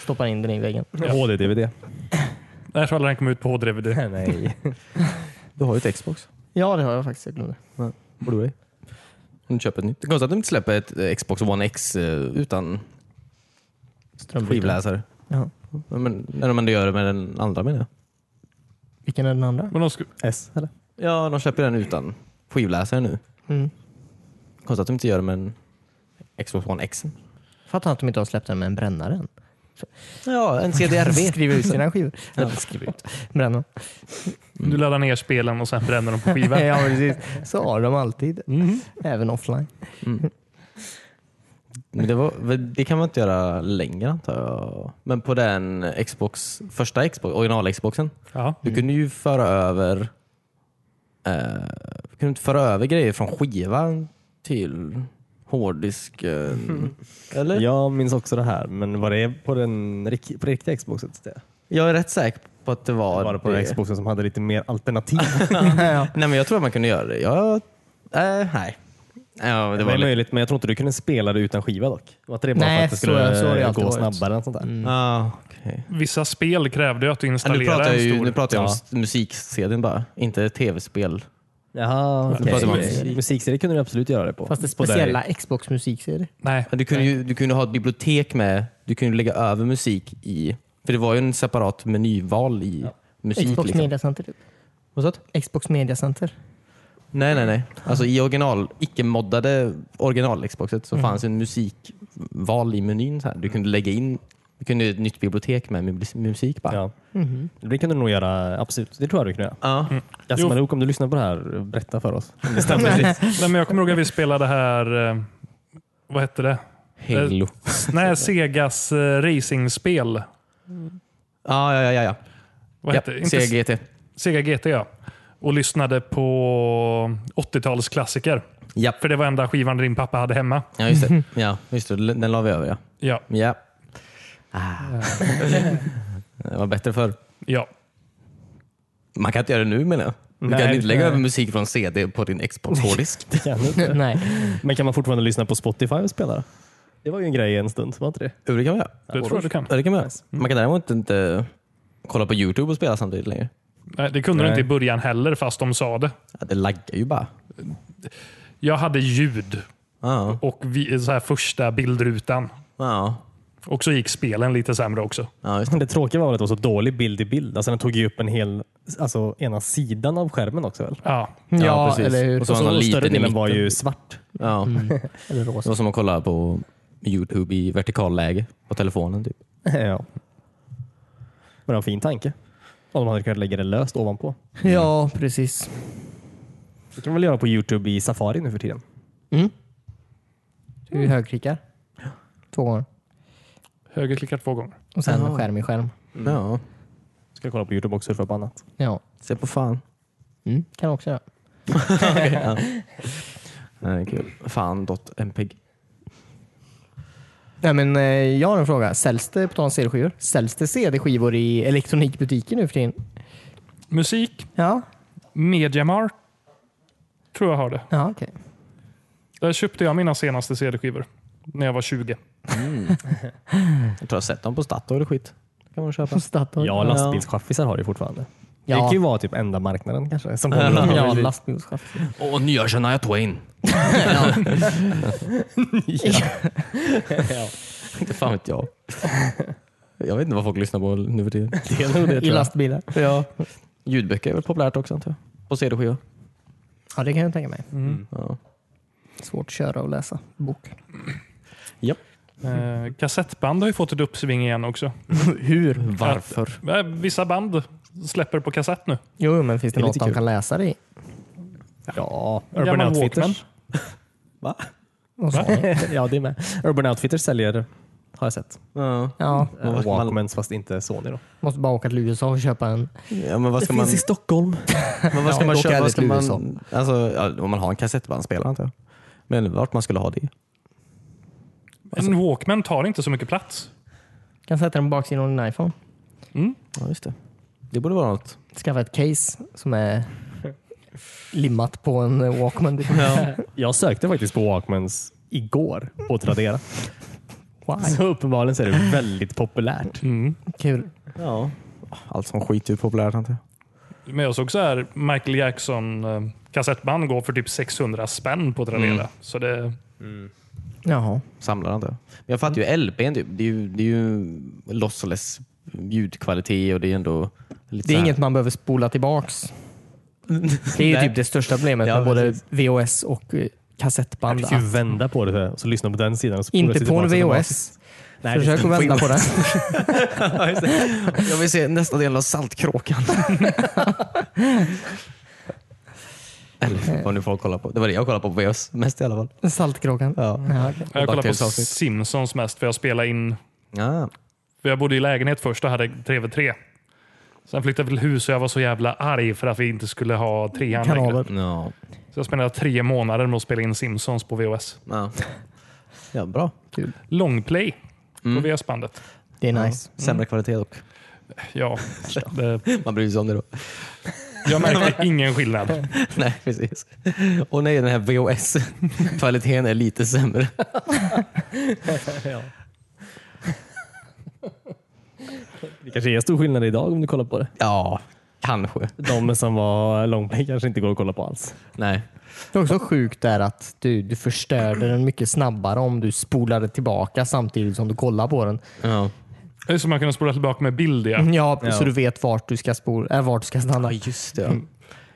Speaker 4: Stoppar in den i väggen.
Speaker 2: HD-DVD.
Speaker 3: Jag tror aldrig den kom ut på HD-DVD.
Speaker 2: Nej.
Speaker 1: Du har ju ett Xbox.
Speaker 4: Ja, det har jag faktiskt. Jag glömde.
Speaker 1: Blu-ray. Om du köper ett nytt. Det är konstigt att de inte släpper ett eh, Xbox One X eh, utan
Speaker 4: Strömbrickan.
Speaker 1: skivläsare.
Speaker 4: Ja.
Speaker 1: Ja, Men, när de ändå gör det med den andra menar jag.
Speaker 4: Vilken är den andra?
Speaker 3: Men de sku-
Speaker 2: S eller?
Speaker 1: Ja, de släpper den utan skivläsare nu.
Speaker 4: Mm.
Speaker 1: Konstigt att de inte gör det med en Xbox One X.
Speaker 4: Fattar att de inte har släppt den med en brännare än.
Speaker 1: Ja, en CDRV.
Speaker 4: Skriver ut sina skivor. Eller skriver ut. Bränner dem.
Speaker 3: du laddar ner spelen och sen bränner de på skivan.
Speaker 4: Ja, precis. Så har de alltid.
Speaker 3: Mhm.
Speaker 4: Även offline.
Speaker 1: Men det, var, det kan man inte göra längre antar jag. Men på den Xbox, första Xbox, original-Xboxen,
Speaker 3: Ja.
Speaker 2: Mm.
Speaker 1: du kunde ju föra över eh, du kunde inte föra över grejer från skivan till hårddisken. Eller?
Speaker 2: Jag minns också det här, men var det på den rik- på det riktiga Xboxet? Det?
Speaker 1: Jag är rätt säker på att det var,
Speaker 2: var det på den Xboxen som hade lite mer alternativ?
Speaker 4: ja.
Speaker 1: Nej, men jag tror att man kunde göra det. Jag, eh, nej. Ja,
Speaker 2: Det
Speaker 1: det
Speaker 2: var
Speaker 1: var lite,
Speaker 2: möjligt, men jag tror inte du kunde spela det utan skiva dock. Var inte det bara
Speaker 4: Nej,
Speaker 2: för att det
Speaker 4: så- så har det
Speaker 2: skulle
Speaker 4: alltid
Speaker 2: gå
Speaker 4: varit. Mm.
Speaker 2: snabbare? Och sånt där?
Speaker 1: ah, okej.
Speaker 3: Vissa spel krävde ju att du
Speaker 1: Ja, Nu
Speaker 3: installerade
Speaker 1: pratar jag,
Speaker 3: en
Speaker 1: ju,
Speaker 3: stor.
Speaker 1: nu pratar jag om
Speaker 2: Ja.
Speaker 1: ja. musik-CDn bara, inte tv-spel.
Speaker 2: Jaha,
Speaker 1: Nu pratar man
Speaker 2: okej.
Speaker 1: musik.
Speaker 2: Musikserie kunde du absolut göra det på.
Speaker 4: Fast det
Speaker 2: På
Speaker 4: speciella Xbox-musik ser det.
Speaker 3: Nej.
Speaker 1: Ja, Du kunde, ju, du kunde ha ett bibliotek med, du kunde lägga över musik i, för det var ju en separat menyval i musik.
Speaker 4: Xbox
Speaker 1: liksom.
Speaker 4: Media Center. typ.
Speaker 1: Vad sa du?
Speaker 4: Xbox Media Center.
Speaker 1: Nej, nej, nej. Alltså i original, icke-moddade original-Xboxet
Speaker 4: Mm.
Speaker 1: så fanns en musikval i menyn. Så här. Du kunde lägga in, du kunde göra ett nytt bibliotek med mu- musik bara. Ja.
Speaker 2: Ja.
Speaker 4: Mhm.
Speaker 2: Det kunde du nog göra, absolut. Det tror jag du kunde göra.
Speaker 3: Mm. Jo.
Speaker 2: Jasmin Oak, om du lyssnar på det här, berätta för oss.
Speaker 1: det stämmer.
Speaker 3: Nej, men jag kommer ihåg att vi spelade här, eh, vad hette det?
Speaker 1: Halo.
Speaker 3: Nej, Segas eh, racingspel.
Speaker 1: Ja, ja, ja, ja, ja.
Speaker 3: Vad
Speaker 1: ja.
Speaker 3: hette det? Inte
Speaker 1: CGT.
Speaker 3: Sega GT ja. Och lyssnade på 80-talsklassiker.
Speaker 1: Ja.
Speaker 3: För det var enda skivan din pappa hade hemma.
Speaker 1: ja, just det. Ja, just det. Den la vi över ja.
Speaker 3: Ja.
Speaker 1: Ja. Ah. det var bättre förr.
Speaker 3: ja.
Speaker 1: Man kan inte göra det nu menar jag. Du
Speaker 2: Nej,
Speaker 1: kan inte lägga
Speaker 2: nej.
Speaker 1: över musik från CD på din Xbox-hårddisk.
Speaker 2: Det kan du inte.
Speaker 4: Nej.
Speaker 2: Men kan man fortfarande lyssna på Spotify och spela det? Det var ju en grej en stund, var inte det?
Speaker 1: Jo, det kan man göra.
Speaker 3: Det tror jag du kan.
Speaker 1: Ja, det kan man göra. Man kan däremot inte kolla på YouTube och spela samtidigt längre.
Speaker 3: Nej, det kunde du
Speaker 2: Nej.
Speaker 3: inte i början heller, fast de sa det.
Speaker 1: Ja, det laggar ju bara.
Speaker 3: Jag hade ljud
Speaker 1: Ja,
Speaker 3: och vi, eh, så här första bildrutan.
Speaker 1: ja,
Speaker 3: Och så gick spelen lite sämre också.
Speaker 1: ja just det.
Speaker 2: Det tråkiga var att det var så dålig bild i bild. Alltså den tog ju upp en hel, alltså ena sidan av skärmen också väl?
Speaker 3: Ja,
Speaker 4: Ja,
Speaker 1: precis.
Speaker 4: eller hur?
Speaker 1: Och så var
Speaker 2: så
Speaker 1: någon liten
Speaker 2: större
Speaker 1: i
Speaker 2: delen
Speaker 1: mitten.
Speaker 2: var ju svart.
Speaker 1: Ja.
Speaker 4: Eller
Speaker 1: Det
Speaker 4: rosa.
Speaker 1: var som att kolla på YouTube i vertikalläge på telefonen. Typ.
Speaker 2: ja. Men det var en fin tanke. Om man hade kunnat lägga det löst ovanpå.
Speaker 4: Ja, precis.
Speaker 2: Det kan man väl göra på Youtube i Safari nu för tiden?
Speaker 4: Du högerklickar. Två gånger.
Speaker 3: högerklickar två gånger.
Speaker 4: Och sen
Speaker 1: Ja.
Speaker 4: skärm i skärm.
Speaker 1: Ja,
Speaker 2: Ska kolla på Youtube och surfa på annat.
Speaker 4: Ja.
Speaker 1: se på fan.
Speaker 4: Mm. Kan också göra.
Speaker 1: Okej, ja. Nej, kul. Fan.mpeg.
Speaker 4: Nej, men, eh, jag har en fråga. Säljs det, på tal om CD-skivor, säljs det CD-skivor i elektronikbutiker nu för tiden?
Speaker 3: Musik,
Speaker 4: Ja,
Speaker 3: Mediamar tror jag har det.
Speaker 4: ja okej.
Speaker 3: Där köpte jag mina senaste CD-skivor när jag var 20.
Speaker 1: Jag tror jag har sett dem på Statoil och skit. kan man köpa.
Speaker 4: På Statoil.
Speaker 2: Ja, lastbilschaffisar har det fortfarande. Det
Speaker 4: Ja.
Speaker 2: kan ju vara typ enda marknaden kanske. Som håller dem.
Speaker 4: Ja, lastbilschaufför.
Speaker 1: Och nya Shania Twain. Inte fan vet jag. Jag vet inte vad folk lyssnar på nu för tiden.
Speaker 2: Det är nog det, tror
Speaker 4: I
Speaker 2: jag.
Speaker 4: lastbilar.
Speaker 1: Ja. Ljudböcker är väl populärt också antar jag. På CD-skiva.
Speaker 4: Ja, det kan jag tänka mig.
Speaker 1: Ja.
Speaker 4: Svårt att köra och läsa bok.
Speaker 3: Eh, kassettband har ju fått ett uppsving igen också.
Speaker 4: Hur?
Speaker 1: Varför?
Speaker 3: Eh, vissa band släpper på kassett nu.
Speaker 4: Jo, men finns det,
Speaker 2: Det är
Speaker 4: något
Speaker 2: lite
Speaker 4: de
Speaker 2: kul.
Speaker 4: kan läsa det i?
Speaker 2: Ja,
Speaker 3: Gammal
Speaker 2: Urban Outfitters.
Speaker 4: Och så.
Speaker 2: ja, det är med. Urban Outfitters säljer, har jag sett.
Speaker 1: Ja.
Speaker 4: Ja,
Speaker 1: Men vad ska man-
Speaker 2: Walkmans fast inte Sony då.
Speaker 4: måste bara åka till USA och köpa en.
Speaker 1: Ja, men vad ska det man... finns i Stockholm. Men vad ska
Speaker 4: Ja,
Speaker 1: man
Speaker 4: dock
Speaker 1: köpa? Vad ska
Speaker 4: aldrig till
Speaker 1: man... Alltså, ja, om man har en kassettbandspelare antar jag. Men vart man skulle ha det.
Speaker 4: Alltså-
Speaker 3: En Walkman tar inte så mycket plats.
Speaker 4: Kan sätta den på baksidan av din iPhone.
Speaker 1: Ja, just det. Det borde vara något.
Speaker 4: Skaffa ett case som är limmat på en eh, Walkman.
Speaker 2: Jag sökte faktiskt på Walkmans igår på Tradera.
Speaker 4: Wow.
Speaker 2: Så uppenbarligen så är det väldigt populärt.
Speaker 4: Kul.
Speaker 1: Ja. Allt som skit är ju populärt antar jag.
Speaker 3: Men jag såg så här, Michael Jackson eh, kassettband går för typ 600 spänn på Tradera.
Speaker 4: Mm.
Speaker 3: Så det,
Speaker 4: Jaha.
Speaker 1: Samlar antar jag. Men jag
Speaker 4: Mm.
Speaker 1: fattar ju LPn typ. Det är ju, det är ju lossless ljudkvalitet och det är ändå lite
Speaker 4: Det är
Speaker 1: så här-
Speaker 4: inget man behöver spola tillbaks. Det är ju
Speaker 1: Nej.
Speaker 4: typ det största problemet
Speaker 1: Ja,
Speaker 4: med både VHS och eh, kassettband.
Speaker 2: Du kan ju
Speaker 4: Att
Speaker 2: vända på det så här, och så lyssna Alltså. på den sidan. Och spola sig
Speaker 4: Inte på en
Speaker 2: tillbaka till
Speaker 4: VHS.
Speaker 2: den. Nej,
Speaker 4: Försök att vända på det.
Speaker 1: Jag vill se nästa del av Saltkråkan. Eller vad nu folk kollar på. Det var det jag kollade på på VHS mest i alla fall.
Speaker 4: Saltkråkan.
Speaker 1: Ja.
Speaker 4: Ja, okej.
Speaker 3: jag kollar på
Speaker 1: Cocktails avsnitt.
Speaker 3: Simpsons mest för jag spelade in
Speaker 1: Ja.
Speaker 3: För jag bodde i lägenhet först och hade TV3. Sen flyttade vi till hus och jag var så jävla arg för att vi inte skulle ha trean längre.
Speaker 4: Kanaler.
Speaker 1: Ja.
Speaker 3: Så jag spenderade tre månader med att spela in Simpsons på VHS.
Speaker 1: ja. Ja, bra.
Speaker 4: Kul.
Speaker 3: Longplay på VHS-bandet.
Speaker 4: Det är nice.
Speaker 1: Ja. Sämre kvalitet dock.
Speaker 3: Ja, det,
Speaker 1: Man bryr sig om det då.
Speaker 3: jag märkte ingen skillnad.
Speaker 1: Nej, precis. Och nej, den här VHS-kvaliteten är lite sämre.
Speaker 2: Det kanske är stor skillnad idag om du kollar på det.
Speaker 1: Ja, kanske.
Speaker 2: De som var långplay kanske inte går att kolla på alls.
Speaker 1: Nej.
Speaker 4: Det är också sjukt där att du, du förstörde den mycket snabbare om du spolade tillbaka samtidigt som du kollar på den.
Speaker 1: Ja.
Speaker 3: Det är som man kunde spola tillbaka med bild. Ja.
Speaker 4: Ja,
Speaker 2: Ja.
Speaker 4: Så du vet vart du ska, spol, äh, vart du ska stanna. Mm.
Speaker 1: just det. Ja.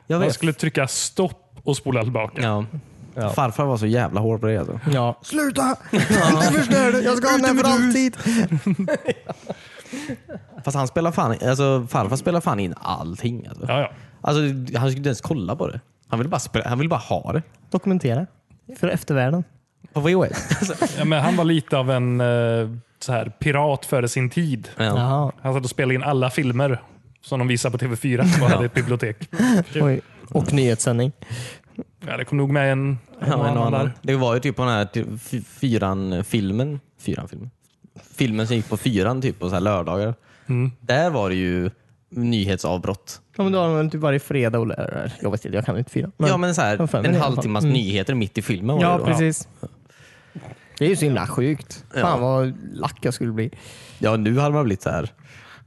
Speaker 1: Jag
Speaker 3: Man
Speaker 1: vet.
Speaker 3: skulle trycka stopp och spola tillbaka.
Speaker 1: Ja.
Speaker 2: Ja.
Speaker 1: Farfar var så jävla hård på det. Alltså.
Speaker 4: Ja. Sluta! Du förstörde! Jag ska ha den här för alltid!
Speaker 1: Fast han spelar fan, alltså, farfar spelar fan in allting. Alltså.
Speaker 3: Ja, ja.
Speaker 1: Alltså, han skulle inte ens kolla på det. Han ville bara, spela, han ville bara ha det.
Speaker 4: Dokumentera. För eftervärlden.
Speaker 1: På VHS. Alltså.
Speaker 3: Ja, men han var lite av en eh, så här, pirat före sin tid.
Speaker 1: Ja.
Speaker 4: Jaha.
Speaker 3: Han satt och spelade in alla filmer som de visade på TV4 som hade i ett bibliotek.
Speaker 4: Oj. Och nyhetssändning.
Speaker 3: Ja, det kom nog med en, en
Speaker 1: Ja,
Speaker 3: och
Speaker 1: en och
Speaker 3: annan
Speaker 1: annan.
Speaker 3: där.
Speaker 1: Det var ju typ på den här ty- fy- fyran-filmen. Fyran-filmen. Filmen som gick på fyran typ på så här lördagar. Där var det ju nyhetsavbrott.
Speaker 4: Ja, men då har de väl typ varje fredag och lär. Jag vet inte, jag kan inte fira.
Speaker 1: ja men så
Speaker 4: Vad fan
Speaker 1: här,
Speaker 4: är det
Speaker 1: en
Speaker 4: i alla
Speaker 1: halvtimmas
Speaker 4: fall? Mm.
Speaker 1: nyheter mitt i filmen var
Speaker 4: Ja,
Speaker 1: det då.
Speaker 4: precis. Det är ju så himla sjukt.
Speaker 1: Ja.
Speaker 4: Fan vad lack jag skulle bli.
Speaker 1: Ja, nu hade man blivit så här.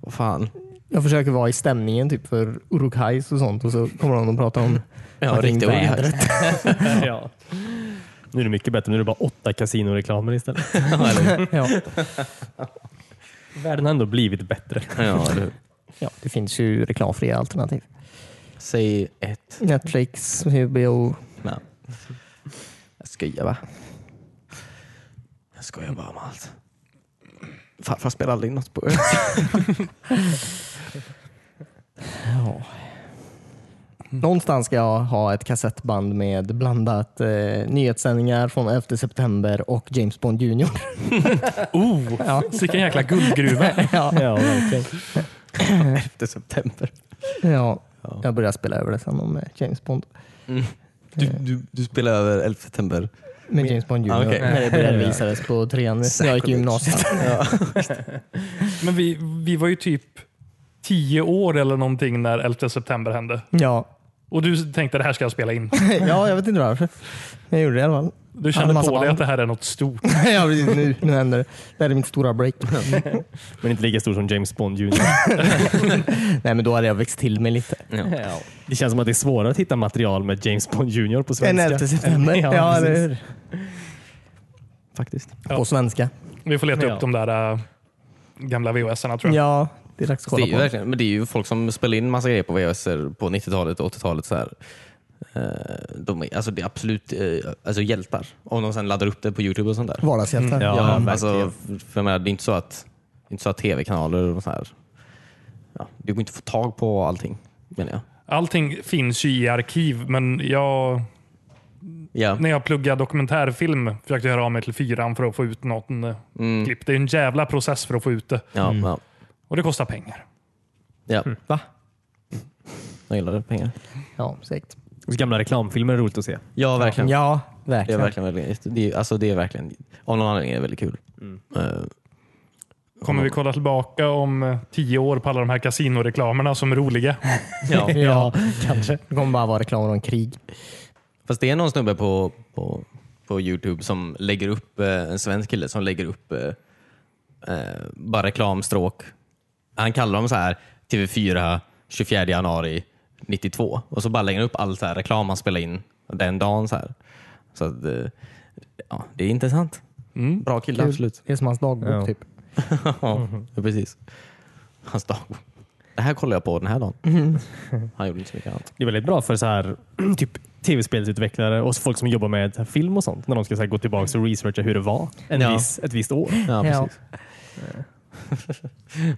Speaker 1: Åh fan.
Speaker 4: Jag försöker vara i stämningen typ för Urukais och sånt och så kommer de och pratar om
Speaker 1: Ja,
Speaker 4: fucking
Speaker 1: riktiga olyckor.
Speaker 2: ja. Nu är det mycket bättre. Nu är det bara åtta kasinoreklamer istället.
Speaker 1: Ja, eller-
Speaker 4: ja.
Speaker 2: Världen har ändå blivit bättre.
Speaker 1: ja, eller hur?
Speaker 4: ja, det finns ju reklamfria alternativ.
Speaker 1: Säg ett.
Speaker 4: Netflix, HBO.
Speaker 1: Nej. Jag skojar bara. Jag skojar bara om allt. Farfar spelar aldrig något på öl.
Speaker 4: Ja. Mm. Någonstans ska jag ha ett kassettband med blandat eh, nyhetssändningar från 11 september och James Bond Jr.
Speaker 3: Oh,
Speaker 4: Ja.
Speaker 3: vilken jäkla guldgruva.
Speaker 4: ja.
Speaker 2: Ja, verkligen.
Speaker 1: Efter september.
Speaker 4: Ja.
Speaker 1: Ja.
Speaker 4: Jag börjar spela över det sen om eh, James Bond.
Speaker 1: Du, du, du spelar över 11 september.
Speaker 4: Med James Bond Jr.
Speaker 1: Ah, okej.
Speaker 4: När det började visades på trean när jag gick i gymnasiet.
Speaker 3: Men vi, vi var ju typ tio år eller någonting när 11 september hände.
Speaker 4: Ja.
Speaker 3: Och du tänkte det här ska jag spela in.
Speaker 4: ja, jag vet inte varför. Men Jag gjorde det i alla fall.
Speaker 3: Du
Speaker 4: Ja,
Speaker 3: kände
Speaker 4: massa
Speaker 3: på dig
Speaker 4: band.
Speaker 3: att det här är något stort.
Speaker 4: ja, precis. Nu, nu händer det. Det här är mitt stora break.
Speaker 2: Men inte lika stor som James Bond Jr.
Speaker 4: Nej, men då hade jag växt till mig lite.
Speaker 2: Ja. Det känns som att det är svårare att hitta material med James Bond Jr på
Speaker 4: Den
Speaker 2: svenska.
Speaker 4: 11 september.
Speaker 2: Ja,
Speaker 4: Ja, eller
Speaker 2: precis.
Speaker 4: hur?
Speaker 1: Faktiskt.
Speaker 3: Ja.
Speaker 4: På svenska.
Speaker 3: Vi får leta
Speaker 2: Ja.
Speaker 3: upp de där äh, gamla VHS-erna tror jag.
Speaker 4: Ja, det är dags
Speaker 1: Det
Speaker 4: att kolla
Speaker 1: är, ju
Speaker 4: på.
Speaker 1: verkligen, men det är ju folk som spelar in massa grejer på VHS på 90-talet och 80-talet. Så här. Eh, De är, alltså det är absolut eh, alltså hjältar. Om de sen laddar upp det på Youtube och sånt där.
Speaker 4: Vardagshjältar.
Speaker 2: Ja,
Speaker 1: Ja,
Speaker 2: verkligen.
Speaker 1: alltså, för jag menar, det är inte så att, inte så att tv-kanaler och så här. Ja, det går inte att få tag på allting menar jag.
Speaker 3: Allting finns ju i arkiv, men jag,
Speaker 1: Ja.
Speaker 3: när jag pluggade dokumentärfilm försökte jag höra av mig till fyran för att få ut något eh,
Speaker 4: Mm.
Speaker 3: klipp. Det är en jävla process för att få ut det.
Speaker 1: Ja, ja,
Speaker 3: Och det kostar pengar.
Speaker 1: ja.
Speaker 4: Va?
Speaker 1: Jag gillar det, pengar.
Speaker 4: Ja, säkert.
Speaker 2: Så Gamla reklamfilmer är roligt att se.
Speaker 1: Ja, verkligen.
Speaker 4: Ja,
Speaker 1: Det är
Speaker 4: verkligen.
Speaker 1: verkligen, verkligen det är, alltså det är verkligen, av någon anledning är det väldigt kul. Eh,
Speaker 3: Kommer vi kolla tillbaka om eh, tio år på alla de här kasinoreklamerna som är roliga?
Speaker 1: ja.
Speaker 4: Ja, kanske. Det kommer bara vara reklam om krig.
Speaker 1: Fast det är någon snubbe på, på, på Youtube som lägger upp, eh, en svensk kille som lägger upp eh, eh, bara reklamstråk. Han kallar dem så här TV4 24 januari 92 och så bara lägger han upp all så här reklam han spelar in den dagen. Så, här. så att, eh, ja, det är intressant. Bra kille,
Speaker 4: Kul.
Speaker 1: Mm. absolut. Mm-hmm.
Speaker 4: Det är som hans dagbok
Speaker 2: Ja.
Speaker 4: typ.
Speaker 1: ja, precis. Hans dagbok. Det här kollar jag på den här dagen. Han gjorde inte så mycket annat.
Speaker 2: Det är väldigt bra för så här, typ tv-spelsutvecklare och folk som jobbar med film och sånt. När de ska så här, gå tillbaka och researcha hur det var en
Speaker 1: Ja.
Speaker 2: viss, ett visst år.
Speaker 1: Ja,
Speaker 4: Ja.
Speaker 1: precis.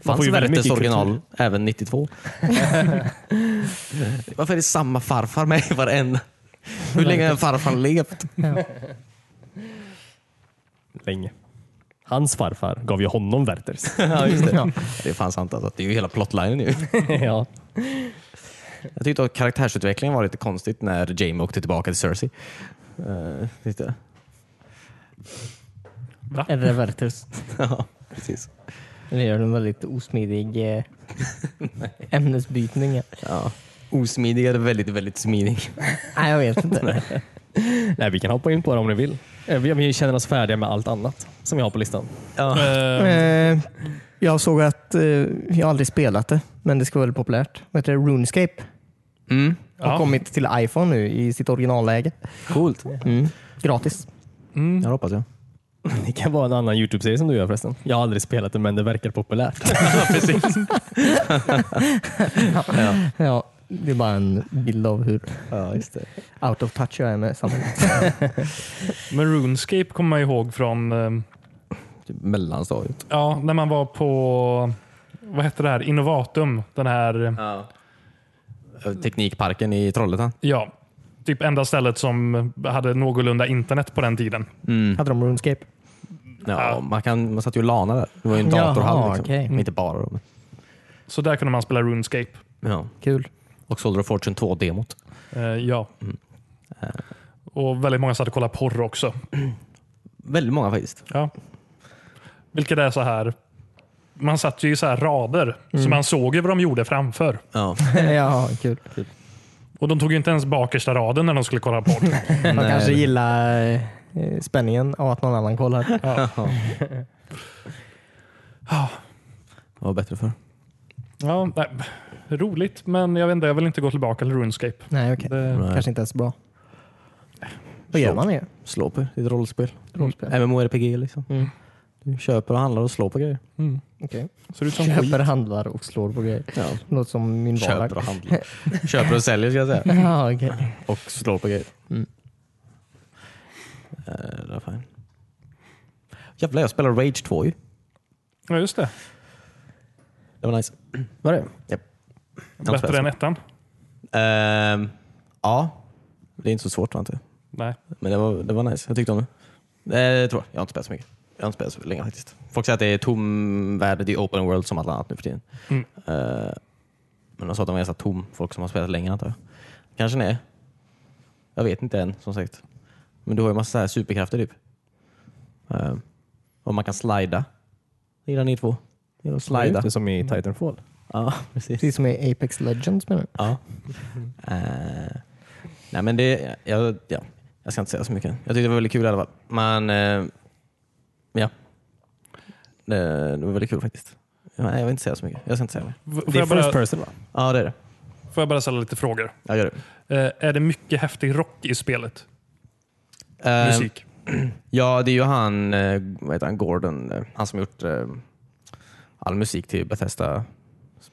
Speaker 2: får
Speaker 1: Fanns
Speaker 2: ju väldigt
Speaker 1: Werthers
Speaker 2: mycket
Speaker 1: original även 92? Varför är det samma farfar med i varenda? Hur länge har farfar levt?
Speaker 2: Länge. Hans farfar gav ju honom Werthers.
Speaker 1: ja, just det.
Speaker 4: Ja.
Speaker 1: det är fan sant alltså. Det är ju hela plotlinen nu.
Speaker 2: ja.
Speaker 1: Jag tyckte att karaktärsutvecklingen var lite konstigt när Jamie åkte tillbaka till Cersei. Eh, lite.
Speaker 3: Va?
Speaker 4: Eller Revertus.
Speaker 1: ja, precis.
Speaker 4: Det gör en väldigt osmidig eh, ämnesbytning.
Speaker 1: Ja. Osmidig eller väldigt, väldigt smidig.
Speaker 4: Nej, jag vet inte.
Speaker 2: Nej, vi kan hoppa in på det om ni vill. Eh, Vi, vi känner oss färdiga med allt annat som vi har på listan.
Speaker 1: Ja.
Speaker 3: Eh,
Speaker 4: eh, jag såg att, eh, jag har aldrig spelat det, men det ska vara väldigt populärt. Vad heter det? RuneScape
Speaker 1: Mm.
Speaker 4: har
Speaker 3: Ja.
Speaker 4: kommit till iPhone nu i sitt originalläge.
Speaker 1: Coolt.
Speaker 4: Mm. Gratis.
Speaker 3: mm.
Speaker 1: Jag hoppas jag.
Speaker 2: Det kan vara en annan Youtube-serie som du gör förresten. Jag har aldrig spelat den, men det verkar populärt.
Speaker 4: Ja, det är bara en bild av hur
Speaker 1: Ja, just det.
Speaker 4: out of touch jag är med samhället.
Speaker 3: Men RuneScape kommer man ihåg från eh,
Speaker 1: Typ mellanstadiet.
Speaker 3: ja, när man var på vad hette det här? Innovatum. Den här,
Speaker 1: Ja. Teknikparken i Trollhättan.
Speaker 3: ja, typ enda stället som hade någorlunda internet på den tiden.
Speaker 4: Hade de RuneScape?
Speaker 1: Ja,
Speaker 3: Ja.
Speaker 1: Man, kan, man satt ju och lanade där. Det var ju en
Speaker 4: Jaha,
Speaker 1: datorhall. Liksom.
Speaker 4: okej.
Speaker 1: Men Inte bara då. men-
Speaker 3: Så där kunde man spela RuneScape.
Speaker 1: Ja.
Speaker 4: Kul.
Speaker 1: Och Soldier of Fortune 2-demot.
Speaker 3: Eh, ja.
Speaker 2: Mm.
Speaker 3: Eh, Och väldigt många satt och kollade porr också.
Speaker 1: Väldigt många faktiskt.
Speaker 3: Ja. Vilket är så här. man satt ju i så här rader, så man såg ju vad de gjorde framför.
Speaker 1: Ja.
Speaker 4: ja, kul.
Speaker 3: Och de tog ju inte ens bakersta raden när de skulle kolla bort.
Speaker 4: De
Speaker 1: Nej.
Speaker 4: kanske gillar eh, spänningen av att någon annan kollar.
Speaker 1: Vad var bättre för?
Speaker 3: ja, nej, roligt, men jag vet inte, jag vill inte gå tillbaka till RuneScape.
Speaker 4: Nej, okej.
Speaker 3: Det,
Speaker 1: Nej.
Speaker 4: Kanske inte ens bra. Vad gör
Speaker 1: Så.
Speaker 4: man med
Speaker 1: Slå på ditt rollspel.
Speaker 4: rollspel?
Speaker 1: MMORPG liksom.
Speaker 3: Mm.
Speaker 1: Du köper och handlar och slår på grejer.
Speaker 3: mm,
Speaker 4: Okej.
Speaker 3: ser ut som skit.
Speaker 4: Köper, handlar och slår på grejer.
Speaker 1: Ja.
Speaker 4: Låter som min vardag.
Speaker 1: Köper och handlar. köper och säljer ska jag säga.
Speaker 4: Ja, okej.
Speaker 1: Och slår på grejer.
Speaker 4: Mm.
Speaker 1: Eh, det var fint. Jävlar, jag spelar Rage 2 ju.
Speaker 3: Ja, just det.
Speaker 1: Det var nice.
Speaker 4: Var det?
Speaker 1: Jag har inte
Speaker 3: Bättre än ettan.
Speaker 1: Ehm, ja, det är inte så svårt var det inte.
Speaker 3: Nej.
Speaker 1: Men det var, det var nice. Jag tyckte om det. Det tror Eh, jag. Jag har inte spelat så mycket. Jag har inte spelat så länge faktiskt. Folk säger att det är tom värld, det är open world som allt annat nu för tiden.
Speaker 3: Mm.
Speaker 1: Eh, men de sa att den var ganska tom, folk som har spelat länge antar jag. Kanske nej. Jag vet inte än som sagt. Men du har ju massa så här superkrafter typ. Eh, och man kan slida. Det gillar ni två. Det gillar att slida.
Speaker 2: Det är som i Titanfall.
Speaker 1: Ja, precis.
Speaker 4: Precis som i Apex Legends menar du?
Speaker 1: Ja. Eh, nej men det, jag, ja, jag ska inte säga så mycket. Jag tyckte det var väldigt kul i alla fall. Men eh, ja, det, det var väldigt kul faktiskt. Nej, jag vill inte säga så mycket. Jag ska inte säga mer.
Speaker 3: V- Får
Speaker 2: Det är
Speaker 3: jag,
Speaker 2: first
Speaker 3: bara,
Speaker 2: person va?
Speaker 1: Ja, det är det.
Speaker 3: får jag bara ställa lite frågor?
Speaker 1: Jag gör det.
Speaker 3: Eh, är det mycket häftig rock i spelet?
Speaker 2: Ehm,
Speaker 1: Eh,
Speaker 3: Musik?
Speaker 1: Ja, det är ju han, eh, vad heter han, Gordon, eh, han som gjort eh, all musik till Bethesda,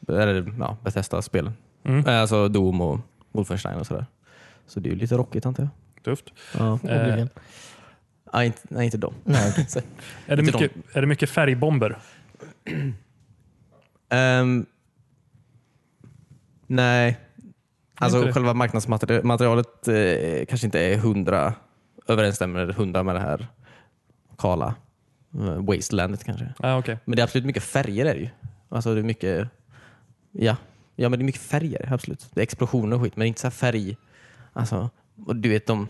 Speaker 1: eller ja, Bethesda-spelen.
Speaker 3: Mm.
Speaker 1: Eh, Alltså Doom och Wolfenstein och sådär. Så det är ju lite rockigt antar jag.
Speaker 3: Tufft. Eh,
Speaker 1: Ja.
Speaker 4: Oblivion.
Speaker 1: Nej, inte, nej, inte dem.
Speaker 4: Nej, okej.
Speaker 3: Är det,
Speaker 1: Inte
Speaker 3: mycket, är det mycket färgbomber?
Speaker 1: Ehm, nej. Alltså
Speaker 3: Inte det.
Speaker 1: själva marknadsmaterialet eh, kanske inte är hundra, överensstämmer hundra med det här kala eh, wastelandet kanske.
Speaker 3: Ah, okay.
Speaker 1: Men det är absolut mycket färger är det ju. Alltså det är mycket, ja. ja men det är mycket färger absolut. Det är explosioner och skit men inte så här färg. Alltså, och du vet de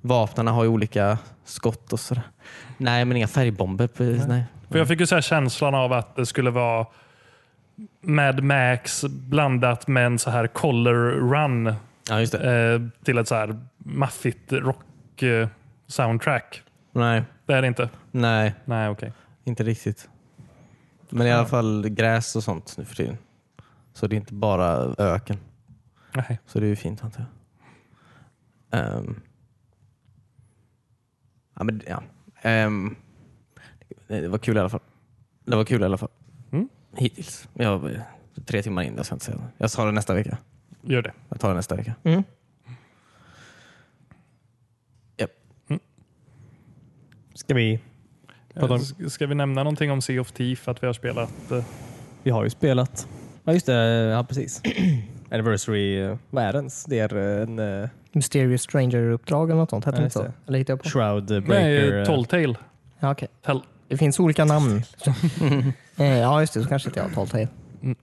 Speaker 1: vapnarna har ju olika skott och sådär. Nej men inga färgbomber. Precis, nej.
Speaker 3: För jag fick ju så här känslan av att det skulle vara Mad Max blandat med en så här color run
Speaker 1: Ja just det.
Speaker 3: eh, till ett så här maffigt rock eh, soundtrack.
Speaker 1: Nej,
Speaker 3: Det är det inte.
Speaker 1: nej.
Speaker 3: Nej, okej.
Speaker 1: Inte riktigt. Men i alla fall gräs och sånt nu för tiden. Så det är inte bara öken.
Speaker 3: Nej.
Speaker 1: Så det är ju fint antar jag. Ehm. ja, men, ja. Ehm. det det var kul i alla fall. Det var kul i alla fall.
Speaker 3: Mm.
Speaker 1: Hittills. Jag var tre timmar in, jag ska inte säga något. Jag tar det nästa vecka.
Speaker 3: Gör det.
Speaker 1: Jag tar det nästa vecka.
Speaker 4: Mm.
Speaker 1: Japp.
Speaker 2: Ska vi? På tal-
Speaker 3: S- Ska vi nämna någonting om Sea of Thief? Att vi har spelat... eh,
Speaker 2: Vi har ju spelat. Ja just det, ja precis. Anniversary, eh, vad är det ens? Det är eh, en eh,
Speaker 4: Mysterious Stranger-uppdrag eller något sånt, hette
Speaker 2: Ja,
Speaker 4: det inte så?
Speaker 2: just
Speaker 4: Eller hittade jag på?
Speaker 2: Shroud Breaker.
Speaker 3: Nej,
Speaker 2: eh,
Speaker 3: Tolltale.
Speaker 4: Ja, okej.
Speaker 3: Tell.
Speaker 4: Det finns olika namn. Eh, ja, just det. Så kanske inte jag har Telltale.
Speaker 3: Mm.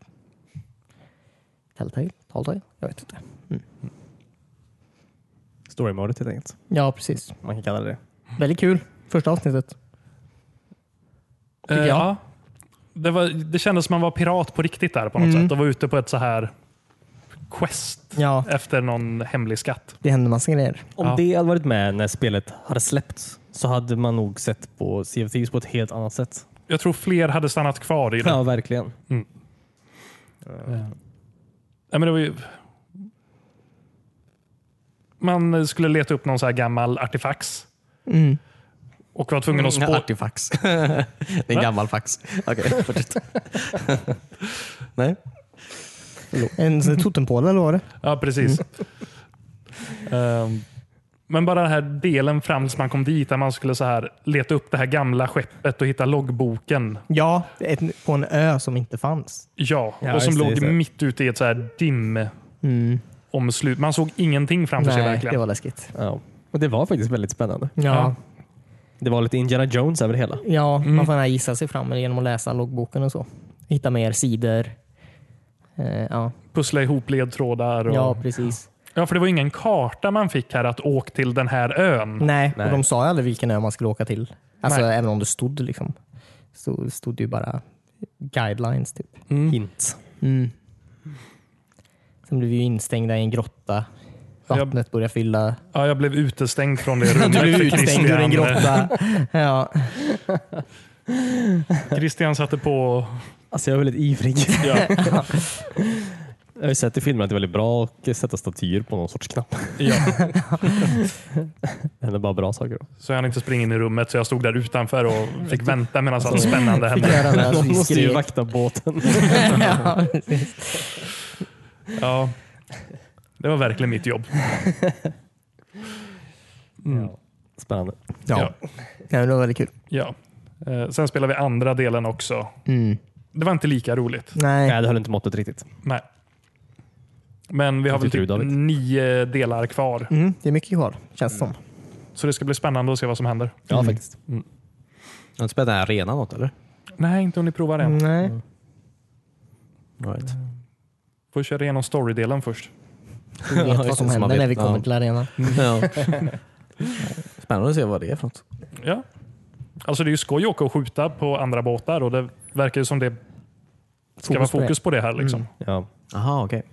Speaker 4: Telltale? Telltale? Jag vet inte.
Speaker 2: Story mode helt enkelt.
Speaker 4: Ja, precis.
Speaker 2: Man kan kalla det det.
Speaker 4: Väldigt kul. Första avsnittet. Tycker
Speaker 3: Eh,
Speaker 4: jag.
Speaker 3: ja. det, var, det kändes som man var pirat på riktigt där på något
Speaker 4: Mm.
Speaker 3: sätt och var ute på ett så här quest
Speaker 4: Ja,
Speaker 3: efter någon hemlig skatt.
Speaker 4: det hände massa grejer.
Speaker 2: Om
Speaker 3: Ja.
Speaker 2: det hade varit med när spelet hade släppts så hade man nog sett på Sea of Thieves på ett helt annat sätt. Mm.
Speaker 3: Jag tror fler hade stannat kvar i det.
Speaker 2: Ja, verkligen.
Speaker 3: Eh, Nej, men det var ju... Man eh, skulle leta upp någon så här gammal artefax
Speaker 4: Mm.
Speaker 3: och var tvungen
Speaker 2: Mm,
Speaker 3: att spå...
Speaker 1: Artifax. Mm, det är en
Speaker 3: Va?
Speaker 1: gammal fax. Okej, fortsätt. Nej.
Speaker 4: En
Speaker 3: Mm.
Speaker 4: sån här totempåle, eller vad var det?
Speaker 3: Ja, precis.
Speaker 2: Mm.
Speaker 3: Ehm, men bara den här delen fram tills man kom dit där man skulle så här leta upp det här gamla skeppet och hitta loggboken.
Speaker 4: Ja, ett, på en ö som inte fanns.
Speaker 3: Ja,
Speaker 2: Ja,
Speaker 3: och som
Speaker 2: just det,
Speaker 3: låg
Speaker 2: just det.
Speaker 3: mitt ute i ett så här dim
Speaker 4: Mm.
Speaker 3: omslut. Man såg ingenting framför sig
Speaker 4: Nej,
Speaker 3: verkligen.
Speaker 4: det var läskigt.
Speaker 2: Ja. Och det var faktiskt väldigt spännande.
Speaker 4: Ja,
Speaker 2: Det var lite Indiana Jones över det hela.
Speaker 4: ja man får gärna gissa sig fram genom att läsa loggboken och så. Hitta mer sidor. Eh, ja.
Speaker 3: Pussla ihop ledtrådar. Och...
Speaker 4: ja,
Speaker 3: Ja.
Speaker 4: precis.
Speaker 3: för det var ingen karta man fick här att åka till den här ön.
Speaker 4: Nej,
Speaker 2: Nej.
Speaker 4: och de sa ju aldrig vilken ö man skulle åka till. Alltså
Speaker 3: Nej.
Speaker 4: även om det stod liksom. Så stod det ju bara guidelines typ.
Speaker 3: Mm.
Speaker 2: Hint.
Speaker 4: Mm. Sen blev vi ju instängda i en grotta. Vattnet började fylla.
Speaker 3: Ja, jag blev utestängd från det rummet.
Speaker 4: Du blev
Speaker 3: för
Speaker 4: utstängd ur en grotta. Ja.
Speaker 3: eh, Christian satte på...
Speaker 2: Alltså jag är väldigt ivrig.
Speaker 3: Ja,
Speaker 2: Jag har ju sett i filmer att det är väldigt bra att sätta statyer på någon sorts knapp.
Speaker 3: ja.
Speaker 2: Det händer bara bra saker. Då.
Speaker 3: Så han inte springer in i rummet, så jag stod där utanför och fick vänta medan allt spännande
Speaker 4: Fick
Speaker 3: hände.
Speaker 4: göra det här
Speaker 2: Någon
Speaker 4: som
Speaker 2: måste ju
Speaker 4: skrev.
Speaker 2: vakta båten.
Speaker 4: Ja, precis.
Speaker 3: Ja. Det var verkligen mitt jobb. Mm.
Speaker 2: Ja. Spännande.
Speaker 4: ja. ja, men det var väldigt kul.
Speaker 3: Ja. Eh, Sen spelade vi andra delen också.
Speaker 4: Mm.
Speaker 3: Det var inte lika roligt.
Speaker 4: Nej.
Speaker 2: Nej, det höll inte måttet riktigt.
Speaker 3: Nej. Men vi har
Speaker 2: Vad
Speaker 3: väl
Speaker 2: tycker
Speaker 3: typ
Speaker 2: du, David?
Speaker 3: nio delar kvar,
Speaker 4: Mm, det är mycket kvar, känns det som.
Speaker 3: så det ska bli spännande att se vad som händer.
Speaker 2: Ja,
Speaker 4: Mm.
Speaker 2: faktiskt.
Speaker 1: Har du spelat den här arenan något eller?
Speaker 3: Nej, inte om ni provar än.
Speaker 4: Nej.
Speaker 1: Right.
Speaker 3: Får vi köra igenom storydelen först.
Speaker 4: Vi vet
Speaker 1: Ja,
Speaker 4: vad
Speaker 1: just
Speaker 4: som
Speaker 1: det, så man
Speaker 4: händer när
Speaker 1: vet.
Speaker 4: vi kommer
Speaker 1: Ja.
Speaker 4: till arenan.
Speaker 1: Ja. Spännande att se vad det är för något.
Speaker 3: Ja. Alltså det är ju skoj att åka och skjuta på andra båtar och det verkar ju som det ska vara
Speaker 4: på det.
Speaker 3: fokus på det här. Liksom.
Speaker 2: Ja.
Speaker 1: Jaha, okej.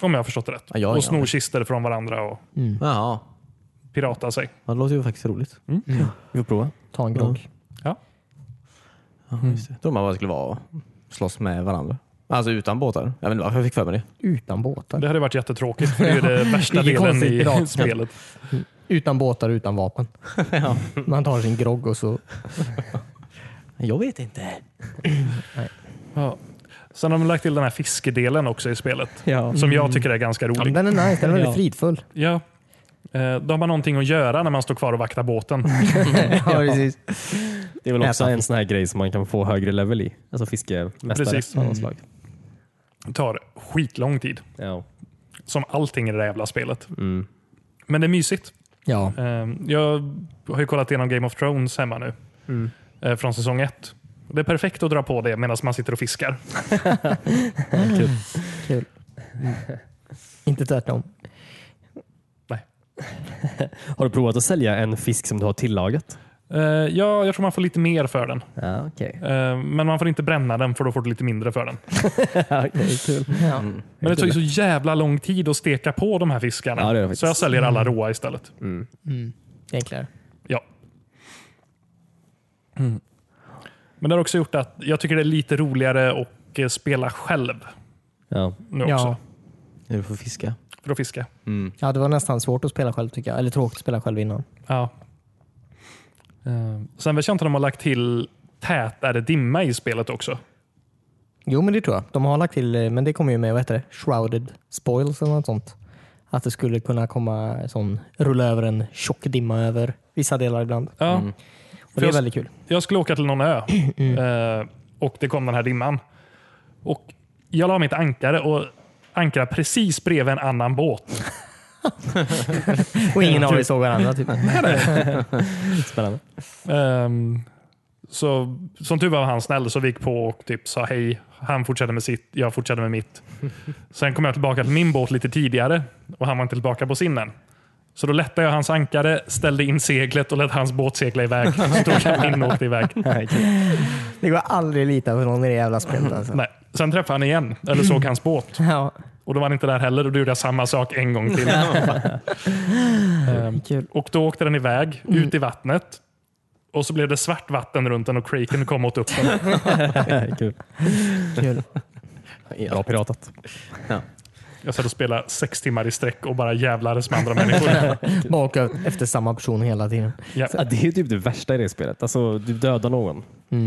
Speaker 3: Om jag har förstått det rätt.
Speaker 1: Ja, ja, ja.
Speaker 3: och snor kister från varandra och
Speaker 1: Jaha.
Speaker 3: pirata sig.
Speaker 1: Ja, Det låter ju faktiskt roligt.
Speaker 2: Vi får prova.
Speaker 4: Ta en grogg.
Speaker 1: Ja, just det. Trodde man bara skulle vara och slåss med varandra. Alltså utan båtar. Jag vet inte varför jag fick för mig det.
Speaker 4: Utan båtar.
Speaker 3: Det hade varit jättetråkigt för det är ju det värsta
Speaker 4: Vilket
Speaker 3: delen
Speaker 4: konstigt
Speaker 3: i
Speaker 4: piratskap.
Speaker 3: spelet.
Speaker 4: Utan båtar och utan vapen. Man tar sin grogg och så...
Speaker 1: Jag vet inte.
Speaker 3: Ja. Sen har de lagt till den här fiskedelen också i spelet.
Speaker 4: Ja.
Speaker 3: Som jag tycker är ganska
Speaker 4: Ja, men
Speaker 3: rolig.
Speaker 4: den är nice, den är väldigt
Speaker 2: Ja.
Speaker 4: fridfull.
Speaker 3: Ja. Eh, Då har man någonting att göra när man står kvar och vaktar båten.
Speaker 4: Ja, precis.
Speaker 2: Det är väl också
Speaker 4: Äta.
Speaker 2: en sån här grej som man kan få högre level i. Alltså fiskemästare.
Speaker 3: Precis.
Speaker 2: av något slag.
Speaker 3: Det tar skitlång tid.
Speaker 2: Ja.
Speaker 3: Som allting i det här jävla spelet.
Speaker 2: Mm.
Speaker 3: Men det är mysigt.
Speaker 4: Ja.
Speaker 3: Eh, Jag har ju kollat igenom Game of Thrones hemma nu. Eh, Från säsong ett. Det är perfekt att dra på det medan man sitter och fiskar.
Speaker 4: Kul. Inte tvärtom.
Speaker 2: Har du provat att sälja en fisk som du har tillagat?
Speaker 3: Eh, Ja, jag tror man får lite mer för den.
Speaker 2: Ja, okej.
Speaker 3: Eh, Men man får inte bränna den för då får du lite mindre för den.
Speaker 2: kul.
Speaker 4: Ja.
Speaker 3: Men det tar ju så jävla lång tid att steka på de här fiskarna.
Speaker 2: Ja, det gör det faktiskt.
Speaker 3: så jag säljer alla råa istället.
Speaker 4: Mm. Det är enklare.
Speaker 3: Ja. Mm. Men det har också gjort att jag tycker det är lite roligare att eh, spela själv
Speaker 2: Ja.
Speaker 3: nu
Speaker 4: Ja.
Speaker 3: också.
Speaker 1: Du får fiska.
Speaker 3: För att fiska.
Speaker 4: Ja, det var nästan svårt att spela själv tycker jag. Eller tråkigt att spela själv innan.
Speaker 3: Ja. Eh, Sen vet jag inte om de har lagt till tätare dimma i spelet också.
Speaker 4: Jo, men det tror jag. De har lagt till, eh, men det kommer ju med, vad heter det? Shrouded spoils eller något sånt. Att det skulle kunna komma sån, rulla över en tjock dimma över vissa delar ibland.
Speaker 3: Ja.
Speaker 2: Mm.
Speaker 4: Och det är
Speaker 3: jag-
Speaker 4: väldigt kul.
Speaker 3: Jag skulle åka till någon ö eh, och det kom den här dimman. Och jag la mitt ankare och ankrade precis bredvid en annan båt.
Speaker 4: Och ingen av er såg varandra. Typ.
Speaker 2: Spännande.
Speaker 3: Ehm, så, som tur var var han snäll så vi gick på och typ sa hej. Han fortsatte med sitt, jag fortsatte med mitt. Sen kom jag tillbaka till min båt lite tidigare och han var inte tillbaka på sin än. Så då lättade jag hans ankare, ställde in seglet och lät hans båt segla iväg. Så tog jag min och åkte iväg.
Speaker 4: Det går aldrig att lita på någon i det jävla spelet. Alltså.
Speaker 3: Nej. Sen träffade han igen, eller såg hans båt.
Speaker 4: Ja,
Speaker 3: Och då var han inte där heller och då gjorde jag samma sak en gång till. Ehm,
Speaker 4: kul.
Speaker 3: och då åkte den iväg,
Speaker 4: Mm.
Speaker 3: ut i vattnet. Och så blev det svart vatten runt den och Kraken kom åt upp den.
Speaker 2: kul.
Speaker 4: kul.
Speaker 2: Bra piratat.
Speaker 3: Jag satt och spelade sex timmar i sträck och bara jävlades med andra människor.
Speaker 4: Baka efter samma person hela tiden.
Speaker 3: Ja.
Speaker 2: Ja, det är typ det värsta i det spelet. Alltså, du dödar någon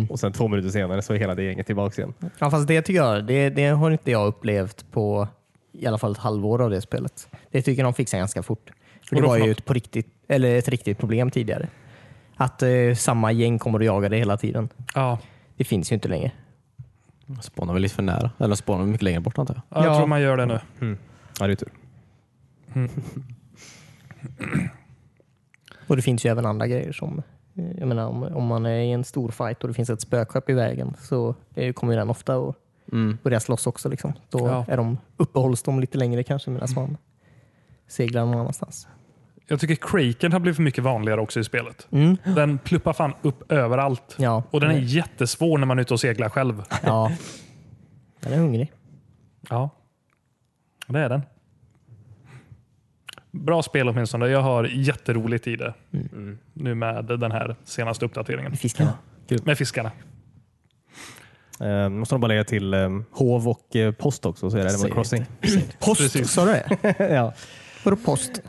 Speaker 2: och sen två minuter senare så är hela det gänget tillbaka igen.
Speaker 4: Ja, fast det tycker jag, det, det har inte jag upplevt på i alla fall ett halvår av det spelet. Det tycker de fixar ganska fort. För det
Speaker 3: Vadå
Speaker 4: var
Speaker 3: för
Speaker 4: ju
Speaker 3: något?
Speaker 4: ett, på riktigt, eller ett riktigt problem tidigare. Att eh, samma gäng kommer och jagar det hela tiden.
Speaker 3: Ja,
Speaker 4: Det finns ju inte längre.
Speaker 1: Spånar väl lite för nära. Eller spånar väl mycket längre bort antar jag.
Speaker 3: jag
Speaker 4: Ja.
Speaker 3: tror man gör det nu.
Speaker 2: Ja, det är tur.
Speaker 4: Och det finns ju även andra grejer som eh, jag menar, om, om man är i en stor fight och det finns ett spökskepp i vägen så eh, kommer ju den ofta och
Speaker 2: Mm.
Speaker 4: börjar slåss också. Liksom. Då
Speaker 3: Ja.
Speaker 4: är de, uppehålls de lite längre kanske medan man seglar någon annanstans.
Speaker 3: Jag tycker Kraken har blivit för mycket vanligare också i spelet.
Speaker 4: Mm.
Speaker 3: Den pluppar fan upp överallt.
Speaker 4: Ja.
Speaker 3: Och den är jättesvår när man är ute och seglar själv.
Speaker 4: Ja. Den är hungrig.
Speaker 3: Ja, det är den. Bra spel åtminstone. Jag har jätteroligt i det
Speaker 4: Mm.
Speaker 3: nu med den här senaste uppdateringen.
Speaker 4: Fiskarna.
Speaker 3: Med fiskarna.
Speaker 2: Eh, måste nog bara lägga till eh, hov och eh, post också, så är det Animal
Speaker 1: Säg
Speaker 2: Crossing.
Speaker 4: Post
Speaker 3: Precis.
Speaker 4: sa du det?
Speaker 2: ja.
Speaker 4: Vadå post?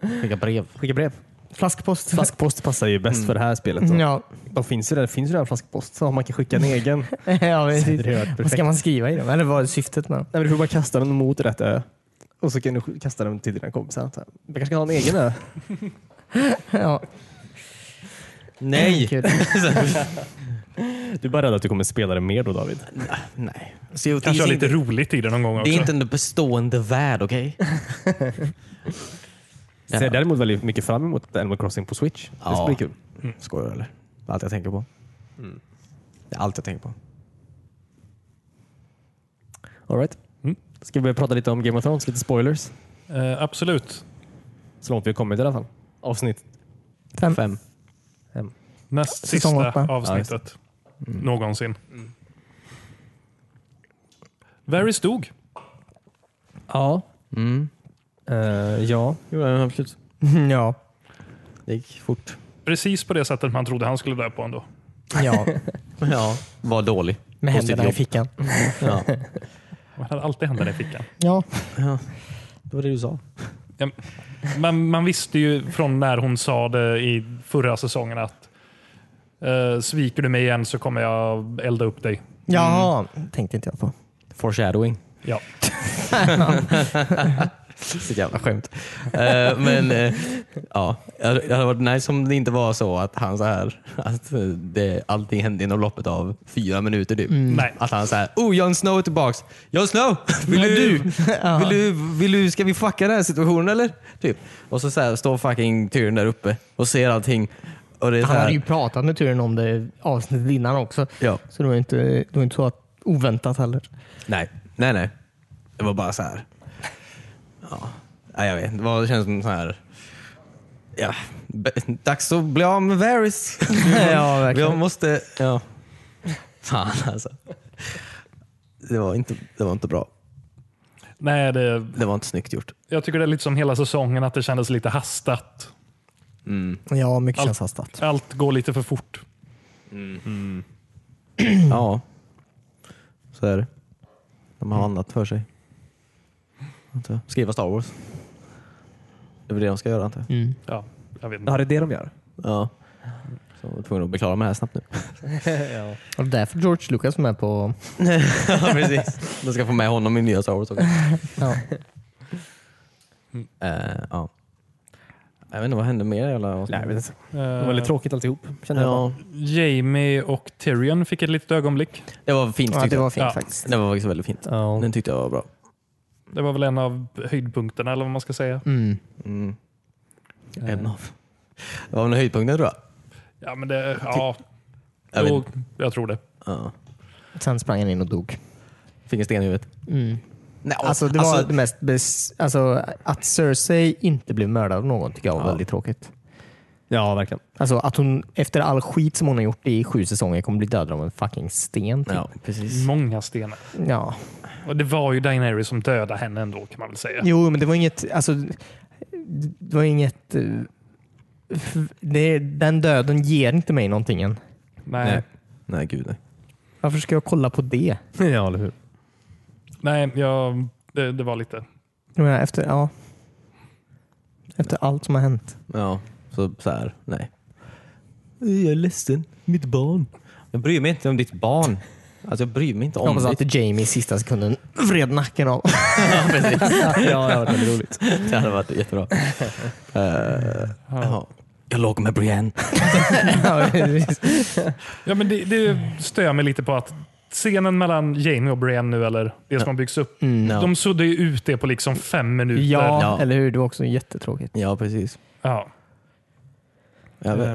Speaker 1: Skicka brev.
Speaker 2: Skicka brev.
Speaker 4: Flaskpost?
Speaker 2: Flaskpost passar ju bäst för det här spelet. då.
Speaker 4: Ja.
Speaker 2: De finns ju där, det finns ju redan flaskpost, så man kan skicka en egen. Nej,
Speaker 4: ja
Speaker 2: det
Speaker 4: precis.
Speaker 2: hade varit
Speaker 4: Vad
Speaker 2: perfekt.
Speaker 4: ska man skriva i dem? Eller vad är syftet med dem?
Speaker 2: men du får bara kasta den mot rätt ö. Och så kan du sk- kasta den till dina kompisar. Så här, Jag kanske kan ha en egen ö.
Speaker 4: Ja.
Speaker 1: Nej!
Speaker 4: Kul.
Speaker 2: Du är bara rädd att du kommer spela det mer då David.
Speaker 1: Nej. CO2
Speaker 3: Kanske har
Speaker 1: är
Speaker 3: lite
Speaker 1: inte,
Speaker 3: roligt i det någon gång också.
Speaker 1: det är inte en bestående värld, okej?
Speaker 2: Ser jag däremot väldigt mycket fram emot Animal Crossing på Switch. Det ska
Speaker 1: Ja.
Speaker 2: bli kul.
Speaker 1: Skojar du eller? Det är allt jag tänker på.
Speaker 3: Mm.
Speaker 1: Det är allt jag tänker på.
Speaker 2: All right.
Speaker 3: Mm.
Speaker 2: Ska vi börja prata lite om Game of Thrones? Lite spoilers.
Speaker 3: Eh, absolut.
Speaker 2: Så långt vi har kommit i alla fall. Avsnitt.
Speaker 4: Fem.
Speaker 1: Fem.
Speaker 3: Näst
Speaker 4: Säsong
Speaker 3: sista
Speaker 4: åtta.
Speaker 3: avsnittet
Speaker 2: Mm.
Speaker 3: någonsin. Varys dog.
Speaker 2: Ja. Eh,
Speaker 1: Mm.
Speaker 2: ja.
Speaker 1: Jo, ja, absolut.
Speaker 4: Ja.
Speaker 1: Det gick fort.
Speaker 3: Precis på det sättet man trodde han skulle dö på ändå.
Speaker 4: Ja.
Speaker 1: Ja. Var dålig.
Speaker 4: Med
Speaker 1: På sitt
Speaker 4: händerna i
Speaker 1: jobb.
Speaker 4: fickan.
Speaker 1: Ja.
Speaker 3: Han hade alltid händerna i fickan.
Speaker 4: Ja.
Speaker 1: Det var det du sa.
Speaker 3: Ja, man, man visste ju från när hon sa det i förra säsongen att eh, sviker du mig igen så kommer jag elda upp dig.
Speaker 4: Jaha. Mm. Tänkte inte jag på.
Speaker 1: Foreshadowing.
Speaker 3: Ja.
Speaker 1: Sitt jävla skämt. Eh, men eh, ja, det hade varit nice om det inte var så att han så här, att eh, det, allting hände inom loppet av fyra minuter typ.
Speaker 4: Mm.
Speaker 3: Nej.
Speaker 1: Att han så här, oh Jon Snow är tillbaks. Jon Snow, vill du, vill du, vill du, ska vi fucka den här situationen eller? Typ. Och så, så här, står fucking Tyrion där uppe och ser allting. Och det är så
Speaker 4: Han hade
Speaker 1: här,
Speaker 4: ju pratat med turen om det avsnittet innan också.
Speaker 1: ja.
Speaker 4: Så det var inte, det var inte så att oväntat heller.
Speaker 1: Nej, nej, nej. Det var bara så här. Ja, nej, jag vet. Det, var, det känns som så här. Ja, b- dags att bli av med Varys.
Speaker 4: ja,
Speaker 1: Jag
Speaker 4: verkligen.
Speaker 1: måste... Ja. Fan alltså. Det var, inte, det var inte bra.
Speaker 3: Nej, det,
Speaker 1: Det var inte snyggt gjort.
Speaker 3: jag tycker det är lite som hela säsongen att det kändes lite hastat.
Speaker 4: Ja, mycket
Speaker 3: Allt-
Speaker 4: känns hastat.
Speaker 3: Allt går lite för fort.
Speaker 1: Ja. Så är det. De har annat för sig. Antar jag. Skriva Star Wars. Det är väl det de ska göra antar jag.
Speaker 4: Mm.
Speaker 3: Ja, jag vet inte.
Speaker 2: Ja, det är det de gör.
Speaker 1: Ja. Så jag var tvungen att bli klar med det här snabbt nu.
Speaker 4: Och därför George Lucas med på...
Speaker 1: ja, precis. De ska få med honom i nya Star Wars också.
Speaker 4: Ja.
Speaker 1: Eh, ja. Jag vet inte, vad hände mer i alla avsnitt?
Speaker 2: Nej, det var
Speaker 3: Eh,
Speaker 2: väldigt tråkigt alltihop. Kände jag bara.
Speaker 1: ja,
Speaker 3: Jamie och Tyrion fick ett litet ögonblick.
Speaker 1: Det var fint
Speaker 4: ja,
Speaker 1: tyckte
Speaker 4: det
Speaker 1: jag.
Speaker 4: var fint
Speaker 3: Ja.
Speaker 4: faktiskt.
Speaker 1: Det var faktiskt väldigt fint.
Speaker 2: Ja.
Speaker 1: Den tyckte jag var bra.
Speaker 3: Det var väl en av höjdpunkterna eller vad man ska säga.
Speaker 4: Mm.
Speaker 1: Mm.
Speaker 4: Eh.
Speaker 1: En av. Det var väl höjdpunkten tror jag.
Speaker 3: Ja, men det, ja,
Speaker 1: Jag
Speaker 3: jag,
Speaker 1: vet
Speaker 3: då, jag tror det.
Speaker 1: Ja.
Speaker 4: Sen sprang han in och dog.
Speaker 1: Fick en sten i huvudet.
Speaker 4: Mm.
Speaker 1: Nej,
Speaker 4: Alltså det var det mest... Bes- alltså, att Cersei inte blev mördad av någon tycker jag var
Speaker 1: Ja.
Speaker 4: väldigt tråkigt.
Speaker 2: ja, verkligen.
Speaker 4: Alltså att hon efter all skit som hon har gjort i sju säsonger kommer bli dödad av en fucking sten. Typ.
Speaker 1: Ja, precis.
Speaker 3: Många stenar.
Speaker 4: ja.
Speaker 3: Och det var ju Daenerys som dödade henne ändå kan man väl säga.
Speaker 4: Jo, men det var inget... Alltså, det var inget... eh, f- Det, den döden ger inte mig någonting än.
Speaker 3: Nej.
Speaker 1: Nej. Nej, gud nej.
Speaker 4: Varför ska jag kolla på det?
Speaker 2: ja, eller hur?
Speaker 3: Nej, jag, det, det var lite.
Speaker 4: Jag menar, efter, ja. efter allt som har hänt.
Speaker 1: Ja, så, så här, nej. Jag är ledsen. Mitt barn. Jag bryr mig inte om ditt barn. Alltså jag bryr mig inte
Speaker 4: Jag
Speaker 1: om
Speaker 4: hoppas
Speaker 1: dig.
Speaker 4: att Jamie i sista sekunden vred nacken av.
Speaker 2: ja, det har varit väldigt roligt.
Speaker 1: Det hade varit jättebra. Eh, ja. Jag låg med Brienne.
Speaker 4: Ja, precis.
Speaker 3: Ja, men det, det stör mig lite på att scenen mellan Jamie och Brienne nu, eller det som har byggts upp,
Speaker 4: Mm.
Speaker 1: Ja.
Speaker 3: de suddar ju ut det på liksom fem minuter.
Speaker 4: Ja,
Speaker 1: Ja.
Speaker 4: eller hur? Det var också jättetråkigt.
Speaker 1: Ja, precis.
Speaker 3: Ja.
Speaker 1: Jag vet. Eh,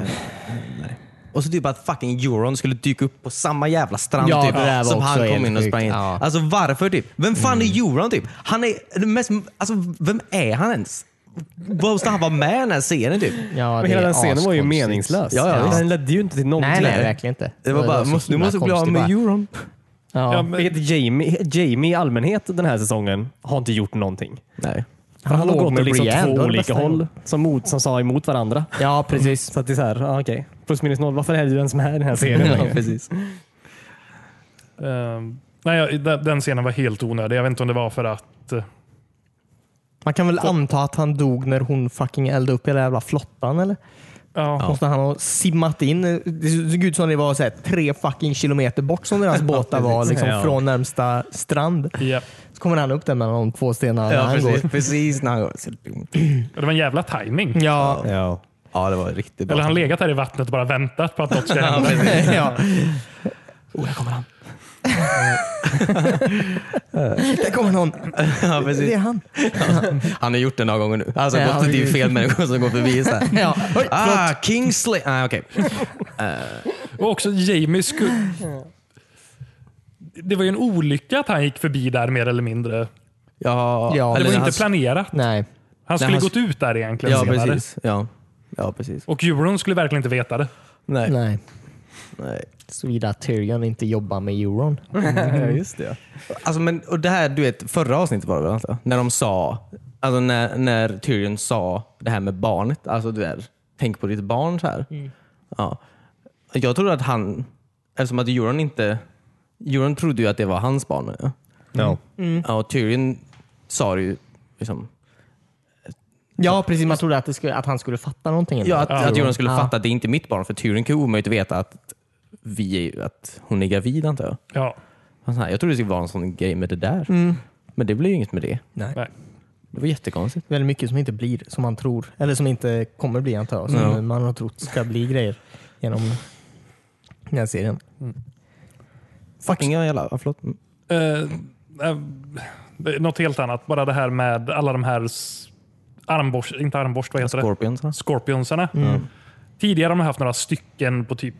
Speaker 1: Nej. Och så typ att fucking Euron skulle dyka upp på samma jävla strand
Speaker 4: Ja,
Speaker 1: typ,
Speaker 4: det där var
Speaker 1: som
Speaker 4: också
Speaker 1: han kom
Speaker 4: helt
Speaker 1: in och
Speaker 4: sjukt.
Speaker 1: sprang in.
Speaker 4: Ja.
Speaker 1: Alltså varför typ? Vem fan är Euron typ? Han är den mest, alltså, vem är han ens? Bowser han var med i den här serien typ.
Speaker 4: Ja,
Speaker 2: Men hela den scenen var ju meningslös.
Speaker 1: Ja, ja,
Speaker 2: den ledde ju inte till någonting.
Speaker 4: Nej, nej, verkligen inte.
Speaker 1: Det var bara,
Speaker 4: så
Speaker 1: måste, du
Speaker 4: himla
Speaker 1: måste bli av
Speaker 4: konstigt
Speaker 1: med
Speaker 4: bara.
Speaker 1: euron.
Speaker 4: Ja.
Speaker 2: Ja, men... Vilket Jamie, Jamie i allmänhet den här säsongen har inte gjort någonting.
Speaker 1: Nej.
Speaker 2: Han,
Speaker 4: har
Speaker 2: har
Speaker 4: gått
Speaker 2: gått med
Speaker 4: och
Speaker 2: liksom
Speaker 4: Brienne,
Speaker 2: två
Speaker 4: då är det
Speaker 2: olika
Speaker 4: bästa
Speaker 2: håll
Speaker 4: gången.
Speaker 2: som, mot, som sa emot varandra.
Speaker 4: ja, precis.
Speaker 2: Så att det är så här, ja, okej. Plus minus noll. Varför är du ens med i den här serien?
Speaker 1: Ja, precis.
Speaker 3: Eh, nej, jag- den- den scenen var helt onödig. Jag vet inte om det var för att... eh,
Speaker 4: Man kan väl anta att han dog när hon fucking eldade upp hela jävla flottan eller?
Speaker 3: Ja,
Speaker 4: Måste han ha simmat in? Det såg ut som det var så här, tre fucking kilometer bort som deras båtar var
Speaker 2: precis.
Speaker 4: liksom,
Speaker 2: Ja.
Speaker 4: från närmsta strand.
Speaker 3: ja.
Speaker 4: Så kommer han upp där mellan de två stenarna när
Speaker 1: Ja,
Speaker 4: han går.
Speaker 1: precis, precis när han går. Så dumt.
Speaker 3: Det var en jävla timing.
Speaker 1: Mm.
Speaker 4: Ja.
Speaker 2: Ja.
Speaker 1: Ja, det var riktigt bra.
Speaker 3: Eller han legat där i vattnet och bara väntat på att något ska hända.
Speaker 4: ja. Oh, här kommer han. där kommer någon.
Speaker 1: ja,
Speaker 4: Det är
Speaker 1: precis.
Speaker 4: han.
Speaker 1: Han har gjort det några gånger nu. Alltså
Speaker 4: Ja,
Speaker 1: gått till
Speaker 4: precis.
Speaker 1: fel människor som går förbi. Så här.
Speaker 4: Ja. Oj, förlåt.
Speaker 1: Ah, Kingsley! Nej, okej.
Speaker 3: Och också Jamie skulle... Det var ju en olycka att han gick förbi där mer eller mindre.
Speaker 1: Ja,
Speaker 4: Ja,
Speaker 3: det
Speaker 1: eller
Speaker 3: var
Speaker 1: han-
Speaker 3: inte planerat.
Speaker 4: Nej.
Speaker 3: Han skulle
Speaker 1: han-
Speaker 3: gått ut där egentligen
Speaker 1: Ja,
Speaker 3: senare.
Speaker 1: precis. Ja. ja, precis.
Speaker 3: Och euron skulle verkligen inte veta det.
Speaker 1: Nej.
Speaker 4: Nej.
Speaker 1: Nej.
Speaker 4: Såvida Tyrion inte jobbar med euron.
Speaker 1: just det. Alltså, men, och det här, du vet, förra avsnittet var det väl? Alltså, när de sa, alltså när, när Tyrion sa det här med barnet, alltså du är, tänk på ditt barn så här. Ja. Jag trodde att han, eftersom att Euron inte, Euron trodde ju att det var hans barn. Ja.
Speaker 2: Ja.
Speaker 1: Ja, och Tyrion sa det ju liksom,
Speaker 4: Ja, precis. Man trodde att, det skulle, att han skulle fatta någonting.
Speaker 1: ja, att, att Euron skulle
Speaker 4: Ja.
Speaker 1: fatta att det inte är mitt barn, för Tyrion kan ju omöjligt veta att, vi är, att hon är gravid antar jag.
Speaker 3: Ja,
Speaker 1: Han sa, Jag trodde det skulle vara en sån grej med det där.
Speaker 4: Mm.
Speaker 1: Men det blev ju inget med det.
Speaker 3: nej.
Speaker 1: Det var jättekonstigt.
Speaker 4: väldigt mycket som inte blir som man tror. Eller som inte kommer bli antar jag. Som
Speaker 1: Ja.
Speaker 4: man har trott ska bli grejer genom den här serien.
Speaker 1: Fucking jävla, ja, förlåt. Mm.
Speaker 3: Eh, eh, det är något helt annat. Bara det här med alla de här s- armborst, inte armborst, vad heter det?
Speaker 1: Scorpions. va?
Speaker 3: Scorpionsarna. Tidigare har man haft några stycken på typ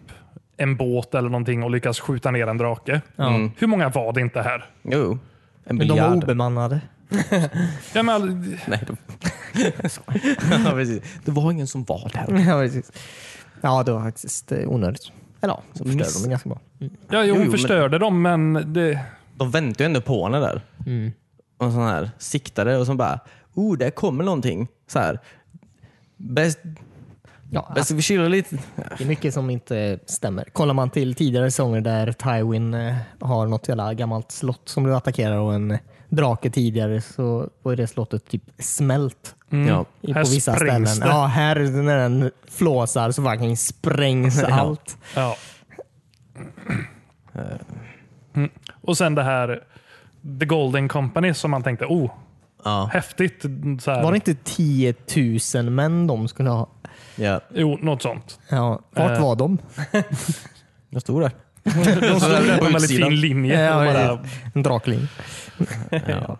Speaker 3: en båt eller någonting och lyckats skjuta ner en drake.
Speaker 1: Mm.
Speaker 3: Hur många var det inte här?
Speaker 1: Jo, jo. En
Speaker 4: Men de var
Speaker 1: biljard.
Speaker 4: obemannade.
Speaker 3: Ja, men,
Speaker 1: Nej, de... ja, precis. Det var ingen som var där.
Speaker 4: ja, precis. Ja, det var faktiskt eh, onödigt. Eller ja, så förstörde
Speaker 1: Miss.
Speaker 4: de det ganska bra.
Speaker 3: ja, jo,
Speaker 1: jo, men-
Speaker 3: hon förstörde dem, men det,
Speaker 1: De väntade ju ändå på henne där.
Speaker 4: Mm.
Speaker 1: Och sån här siktade och som bara, oh, där kommer någonting. Så här. Bäst,
Speaker 4: Ja,
Speaker 1: bäst
Speaker 4: alltså,
Speaker 1: vi chillar lite.
Speaker 4: det är mycket som inte stämmer. Kollar man till tidigare säsonger där Tywin eh, har något jävla gammalt slott som du attackerar och en eh, drake tidigare så var ju det slottet typ smält
Speaker 1: Ja.
Speaker 4: I,
Speaker 3: Här
Speaker 4: på vissa ställen.
Speaker 3: sprängs det.
Speaker 4: Ja, här när den flåsar så fucking sprängs allt.
Speaker 3: Ja. Mm. Och sen det här The Golden Company som man tänkte, oh,
Speaker 1: Ja.
Speaker 3: häftigt. Så här,
Speaker 4: Var det inte 10 000 män de skulle ha?
Speaker 1: ja.
Speaker 3: Jo, något sånt.
Speaker 4: Ja, vart
Speaker 3: Eh.
Speaker 4: var de?
Speaker 1: Jag stod där.
Speaker 3: De stod där på en väldigt fin linje.
Speaker 4: Ja,
Speaker 3: och bara,
Speaker 4: precis. En drakling.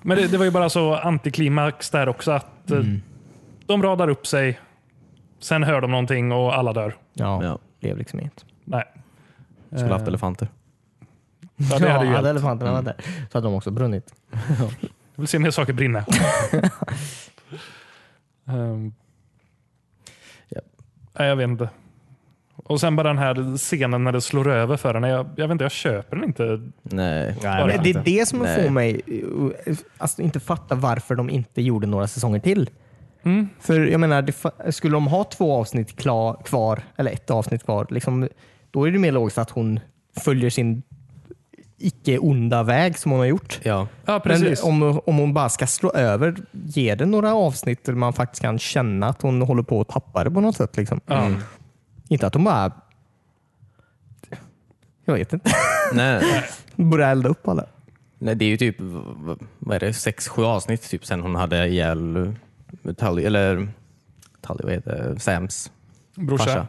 Speaker 3: men det, det var ju bara så antiklimax där också. att eh, De radar upp sig, sen hör de någonting och alla dör.
Speaker 4: Ja,
Speaker 1: Ja.
Speaker 4: blev liksom inget.
Speaker 3: Nej.
Speaker 1: Skulle haft elefanter.
Speaker 3: Ja, det hade ju
Speaker 4: Ja, hade
Speaker 3: hjälpt. Mm.
Speaker 4: elefanterna varit där så hade de också brunnit.
Speaker 3: Jag vill se mer saker brinna. Ehm.
Speaker 1: Ja.
Speaker 3: Nej, jag vet inte. Och sen bara den här scenen när det slår över för henne. Jag, jag vet inte, jag köper den inte.
Speaker 1: Nej.
Speaker 2: Nej, jag vet
Speaker 4: det är
Speaker 2: inte.
Speaker 4: det som
Speaker 1: Nej.
Speaker 4: får mig eh, alltså, inte fatta varför de inte gjorde några säsonger till.
Speaker 3: Mm.
Speaker 4: För jag menar, det, fa- skulle de ha två avsnitt kla, kvar, eller ett avsnitt kvar, liksom, då är det mer logiskt att hon följer sin icke-onda väg som hon har gjort.
Speaker 1: Ja.
Speaker 3: Ja, precis.
Speaker 4: Men om, om hon bara ska slå över, ger det några avsnitt där man faktiskt kan känna att hon håller på att tappa det på något sätt? Liksom.
Speaker 3: ja.
Speaker 4: Inte att hon bara... Jag vet inte.
Speaker 1: Nej, nej.
Speaker 4: Börjar elda upp alla.
Speaker 1: Nej, det är ju typ v- v- vad är det, sex, sju avsnitt typ, sen hon hade ihjäl Tully, eller Tully, vad heter det? Sams
Speaker 3: Brorsa.
Speaker 1: farsa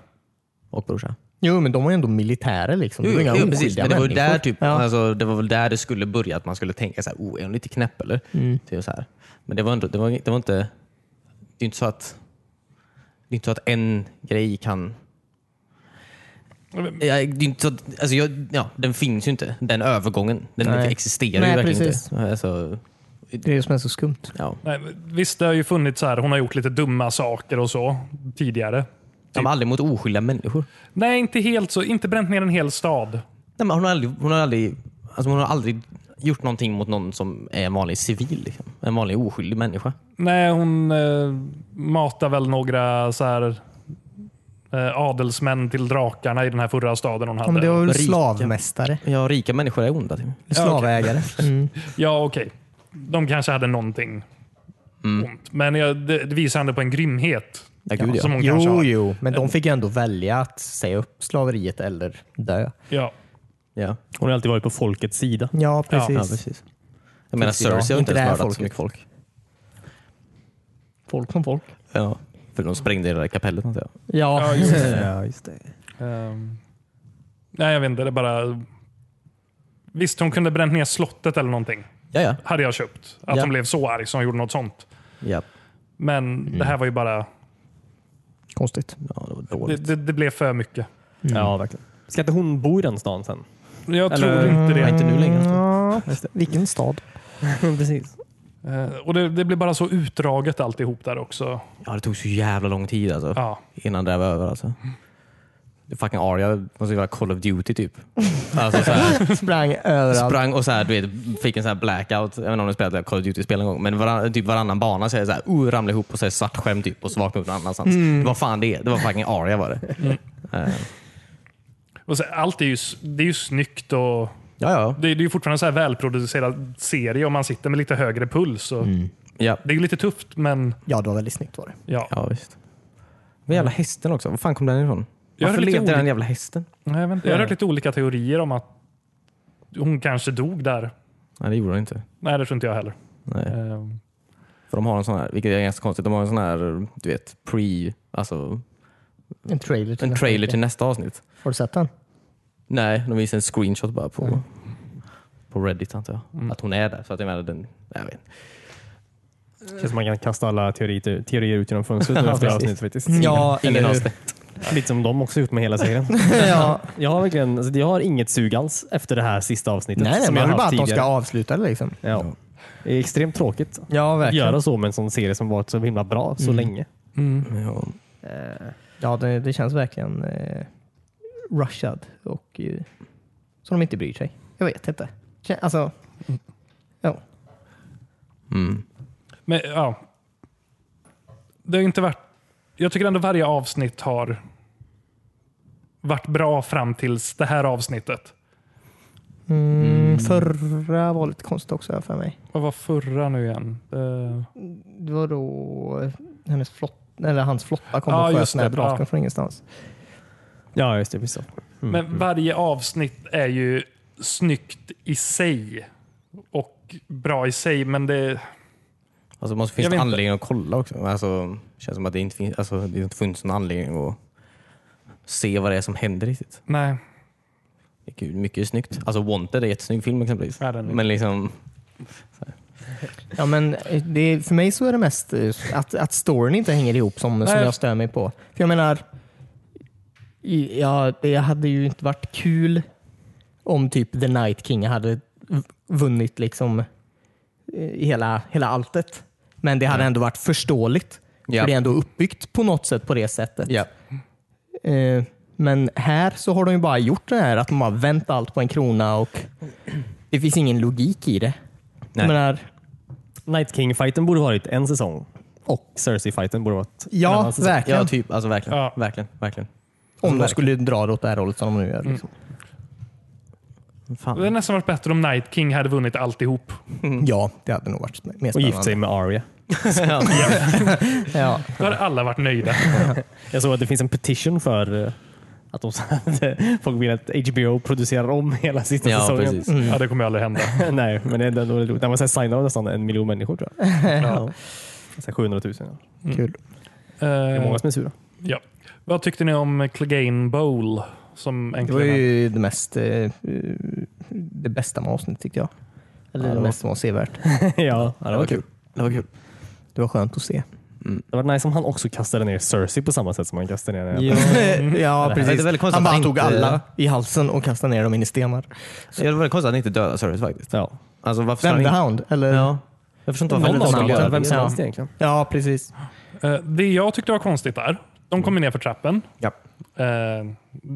Speaker 1: och brorsa.
Speaker 4: Jo, men de var ju ändå militärer. Liksom. Det var inga
Speaker 1: precis.
Speaker 4: oskyldiga
Speaker 1: Men det var, ju
Speaker 4: människor.
Speaker 1: där, typ,
Speaker 4: Ja.
Speaker 1: alltså, det var väl där det skulle börja, att man skulle tänka så här, oh, är hon lite knäpp eller?
Speaker 4: Mm.
Speaker 1: Typ så här. Men det var, inte, det, var, det var inte... Det är inte så att... Det är inte så att en grej kan... Ja, det är inte så att, alltså jag, ja, den finns ju inte, den övergången. Den
Speaker 4: Nej.
Speaker 1: existerar
Speaker 4: Nej,
Speaker 1: ju verkligen
Speaker 4: precis.
Speaker 1: inte. Alltså,
Speaker 4: Det är det som är så skumt.
Speaker 1: Ja.
Speaker 3: Nej, visst, det har ju funnits så här, hon har gjort lite dumma saker och så tidigare.
Speaker 4: Typ.
Speaker 1: De har aldrig mot oskyldiga människor.
Speaker 3: Nej, inte helt så. Inte bränt ner en hel stad.
Speaker 1: Nej, men hon, har aldrig, hon, har aldrig, alltså hon har aldrig gjort någonting mot någon som är en vanlig civil. Liksom. En vanlig oskyldig människa.
Speaker 3: Nej, hon eh, matar väl några så här, eh, adelsmän till drakarna i den här förra staden hon hade.
Speaker 4: Ja, men det var väl
Speaker 1: Rika.
Speaker 4: slavmästare?
Speaker 1: Ja, rika människor är onda. Typ.
Speaker 4: Slavägare? Mm.
Speaker 3: Ja, okej. De kanske hade någonting
Speaker 4: Mm.
Speaker 3: ont. Men jag, det, det visar ändå på en grymhet.
Speaker 1: Ja, gud, ja.
Speaker 3: Som hon kanske
Speaker 4: Jo,
Speaker 3: har.
Speaker 4: jo, men de fick ju ändå välja att säga upp slaveriet eller dö.
Speaker 3: Ja.
Speaker 1: Ja.
Speaker 2: Hon har alltid varit på folkets sida.
Speaker 4: Ja, precis.
Speaker 3: precis.
Speaker 1: Ja, precis. Jag menar,
Speaker 4: Precis, ja.
Speaker 1: Cersei har
Speaker 4: Inte
Speaker 1: inte
Speaker 4: det här
Speaker 1: ens mördat
Speaker 4: folket.
Speaker 1: så mycket folk.
Speaker 4: Folk som folk.
Speaker 1: Ja. För de sprängde hela kapellet antar jag.
Speaker 4: Ja,
Speaker 3: Ja, just
Speaker 4: Ja, just det.
Speaker 3: Ehm, nej, jag vet inte. Det är bara... Visst, hon kunde bränt ner slottet eller någonting.
Speaker 1: Ja, ja.
Speaker 3: Hade jag köpt. Att
Speaker 1: Ja.
Speaker 3: hon blev så arg som hon gjorde något sånt.
Speaker 1: Ja,
Speaker 3: Men det här var ju bara...
Speaker 4: Konstigt.
Speaker 1: ja det var
Speaker 3: Det,
Speaker 1: dåligt.
Speaker 3: det, det blev för mycket.
Speaker 4: Mm.
Speaker 2: Ja, verkligen. Ska inte hon bo i den stan sen?
Speaker 3: Jag
Speaker 2: Eller-
Speaker 3: tror inte det.
Speaker 1: Ja, inte nu längre. alltså.
Speaker 4: Ja, vilken stad?
Speaker 2: Precis.
Speaker 3: Eh, Och det, det blir bara så utdraget alltihop där också.
Speaker 1: Ja, det tog så jävla lång tid alltså.
Speaker 3: Ja.
Speaker 1: Innan det här var över alltså. Det fucking Arya var så jävla Call of Duty typ. Alltså så här,
Speaker 4: Sprang överallt.
Speaker 1: sprang och så här, du vet, fick en så här blackout. Jag vet inte om du spelat Call of Duty-spel en gång, men varann, typ varannan bana så är det så här, uh, ramlar ihop och så är det svart skärm typ och så vaknar upp någon annanstans. Det var fan det. Det var fucking Arya var det. Eh,
Speaker 3: Och så, allt är ju, s- det är ju snyggt och
Speaker 1: ja, ja.
Speaker 3: det, är- det är ju fortfarande en så här välproducerad serie om man sitter med lite högre puls. Och
Speaker 1: Ja,
Speaker 3: Det är ju lite tufft, men
Speaker 4: Ja, det var väldigt snyggt var det.
Speaker 3: ja.
Speaker 1: ja visst. Den jävla hästen också. Var fan kom den ifrån?
Speaker 3: Jag
Speaker 1: Varför
Speaker 3: är lite
Speaker 1: levde
Speaker 3: orolig.
Speaker 1: den jävla hästen?
Speaker 3: Nej, Jag, vet inte, jag har hört lite olika teorier om att hon kanske dog där.
Speaker 1: Nej, det gjorde den inte.
Speaker 3: Nej, det tror inte jag heller.
Speaker 1: Nej.
Speaker 3: Eh,
Speaker 1: För de har en sån här, vilket är ganska konstigt, de har en sån här, du vet, pre, alltså
Speaker 4: En trailer till
Speaker 1: en
Speaker 4: nästa
Speaker 1: trailer
Speaker 4: vecka.
Speaker 1: till nästa avsnitt.
Speaker 4: Har du sett den?
Speaker 1: Nej, de visar en screenshot bara på, på Reddit antar jag. Att hon är där. Så att jag menar, den, jag vet. inte.
Speaker 2: Känns som man kan kasta alla teorier, teorier ut genom fönstret nu efter
Speaker 1: precis.
Speaker 2: avsnittet faktiskt.
Speaker 1: Ingen
Speaker 2: eller
Speaker 1: har
Speaker 2: hur?
Speaker 1: sett.
Speaker 2: Lite som de också gjort med hela serien.
Speaker 4: ja.
Speaker 2: Jag har, verkligen, alltså, jag har inget sug alls efter det här sista avsnittet.
Speaker 4: Nej, nej,
Speaker 2: som
Speaker 4: men jag vill bara att de
Speaker 2: tidigare.
Speaker 4: ska avsluta det liksom.
Speaker 2: Ja. Det är extremt tråkigt
Speaker 4: Ja,
Speaker 2: att
Speaker 4: verkligen.
Speaker 2: göra så med en sån serie som varit så himla bra så länge.
Speaker 1: Ja.
Speaker 4: Ja, det, det känns verkligen eh, rushad och eh, så de inte bryr sig. Jag vet inte. Kän- Alltså, ja.
Speaker 1: Mm.
Speaker 3: Men ja. Det har ju inte varit... Jag tycker ändå varje avsnitt har varit bra fram tills det här avsnittet.
Speaker 4: Mm, förra var lite konstigt också här för mig.
Speaker 3: Vad var förra nu igen? Eh,
Speaker 4: Det var då eh, hennes flott, eller hans flotta kom
Speaker 3: Ja,
Speaker 4: och sköt
Speaker 3: just
Speaker 4: den här
Speaker 3: det.
Speaker 4: draken
Speaker 3: Ja.
Speaker 4: från ingenstans.
Speaker 2: Ja, just det. Visst. så.
Speaker 3: Men varje avsnitt är ju snyggt i sig och bra i sig, men det...
Speaker 1: Alltså, det måste
Speaker 3: Jag
Speaker 1: finnas
Speaker 3: vet
Speaker 1: en
Speaker 3: inte.
Speaker 1: anledning att kolla också. Alltså, det känns som att det inte, finns, alltså, det inte funnits någon anledning att se vad det är som händer riktigt.
Speaker 3: Nej.
Speaker 1: Gud, mycket är snyggt. Alltså Wanted är en jättesnygg film exempelvis.
Speaker 3: Ja, den är-
Speaker 1: Men liksom,
Speaker 4: Ja, men eh, det, är- för mig så är det mest eh, att, att storyn inte hänger ihop som, som
Speaker 3: Nej.
Speaker 4: jag stör mig på. För jag menar, i- ja, det hade ju inte varit kul om typ The Night King hade v- vunnit liksom eh, hela, hela alltet. Men det hade ändå varit förståeligt.
Speaker 1: Mm. Ja.
Speaker 4: För det är ändå uppbyggt på något sätt på det sättet.
Speaker 1: ja.
Speaker 4: Eh, Men här så har de ju bara gjort det här att de har vänt allt på en krona och det finns ingen logik i det.
Speaker 1: Nej.
Speaker 4: Jag menar,
Speaker 2: Night King-fighten borde varit en säsong och Cersei-fighten borde varit en
Speaker 4: ja,
Speaker 2: annan säsong.
Speaker 4: verkligen.
Speaker 1: ja typ, alltså verkligen.
Speaker 3: Ja.
Speaker 1: Verkligen, verkligen.
Speaker 4: Om de
Speaker 1: verkligen.
Speaker 4: skulle dra det åt det här hållet som de nu gör. Liksom.
Speaker 3: Det hade
Speaker 1: Fan.
Speaker 3: nästan varit bättre om Night King hade vunnit alltihop.
Speaker 4: Ja, det hade nog varit mer
Speaker 2: Och
Speaker 4: spännande.
Speaker 2: gift sig med Arya.
Speaker 4: Ja.
Speaker 3: Då hade alla varit nöjda.
Speaker 2: Jag såg att det finns en petition för eh, att de folk vill att HBO producerar om hela sista
Speaker 1: Ja,
Speaker 2: säsongen.
Speaker 4: Mm.
Speaker 1: precis.
Speaker 3: Ja, det kommer ju aldrig hända.
Speaker 2: Nej, men det är ändå roligt. Man signar nästan en miljon människor tror jag.
Speaker 3: Ja. Eh,
Speaker 2: Så här 700 000. Ja.
Speaker 4: Kul.
Speaker 2: Det är många som är sura.
Speaker 3: ja. Vad tyckte ni om Clegane Bowl? Som
Speaker 4: Det var
Speaker 3: äntligen
Speaker 4: ju det, mest, eh, det bästa med avsnittet tyckte jag. Eller
Speaker 2: Ja, det
Speaker 4: det
Speaker 2: var-
Speaker 4: mest som var sevärt.
Speaker 2: Eh. ja, det var kul.
Speaker 1: Det var kul.
Speaker 4: Det var skönt att se.
Speaker 2: Det var nice om han också kastade ner Cersei på samma sätt som han kastade ner henne.
Speaker 4: ja,
Speaker 1: Det är
Speaker 4: precis.
Speaker 1: väldigt konstigt
Speaker 4: Han
Speaker 1: att
Speaker 4: bara
Speaker 1: han
Speaker 4: tog
Speaker 1: inte-
Speaker 4: alla i halsen och kastade ner dem in i stenar.
Speaker 1: Så det var väldigt konstigt att han inte dödade Cersei faktiskt.
Speaker 2: Ja.
Speaker 1: Alltså, varför ska han
Speaker 4: Vände
Speaker 1: inte-
Speaker 4: Hound? Eller?
Speaker 1: Ja.
Speaker 2: Jag förstår inte
Speaker 4: Någon
Speaker 2: varför någon
Speaker 4: av dem
Speaker 2: skulle göra
Speaker 4: gör
Speaker 2: det.
Speaker 4: vem som helst
Speaker 2: Ja. egentligen.
Speaker 4: Ja, precis.
Speaker 3: Eh, Det jag tyckte var konstigt där, de kommer ner för trappen.
Speaker 1: Ja.
Speaker 3: Eh,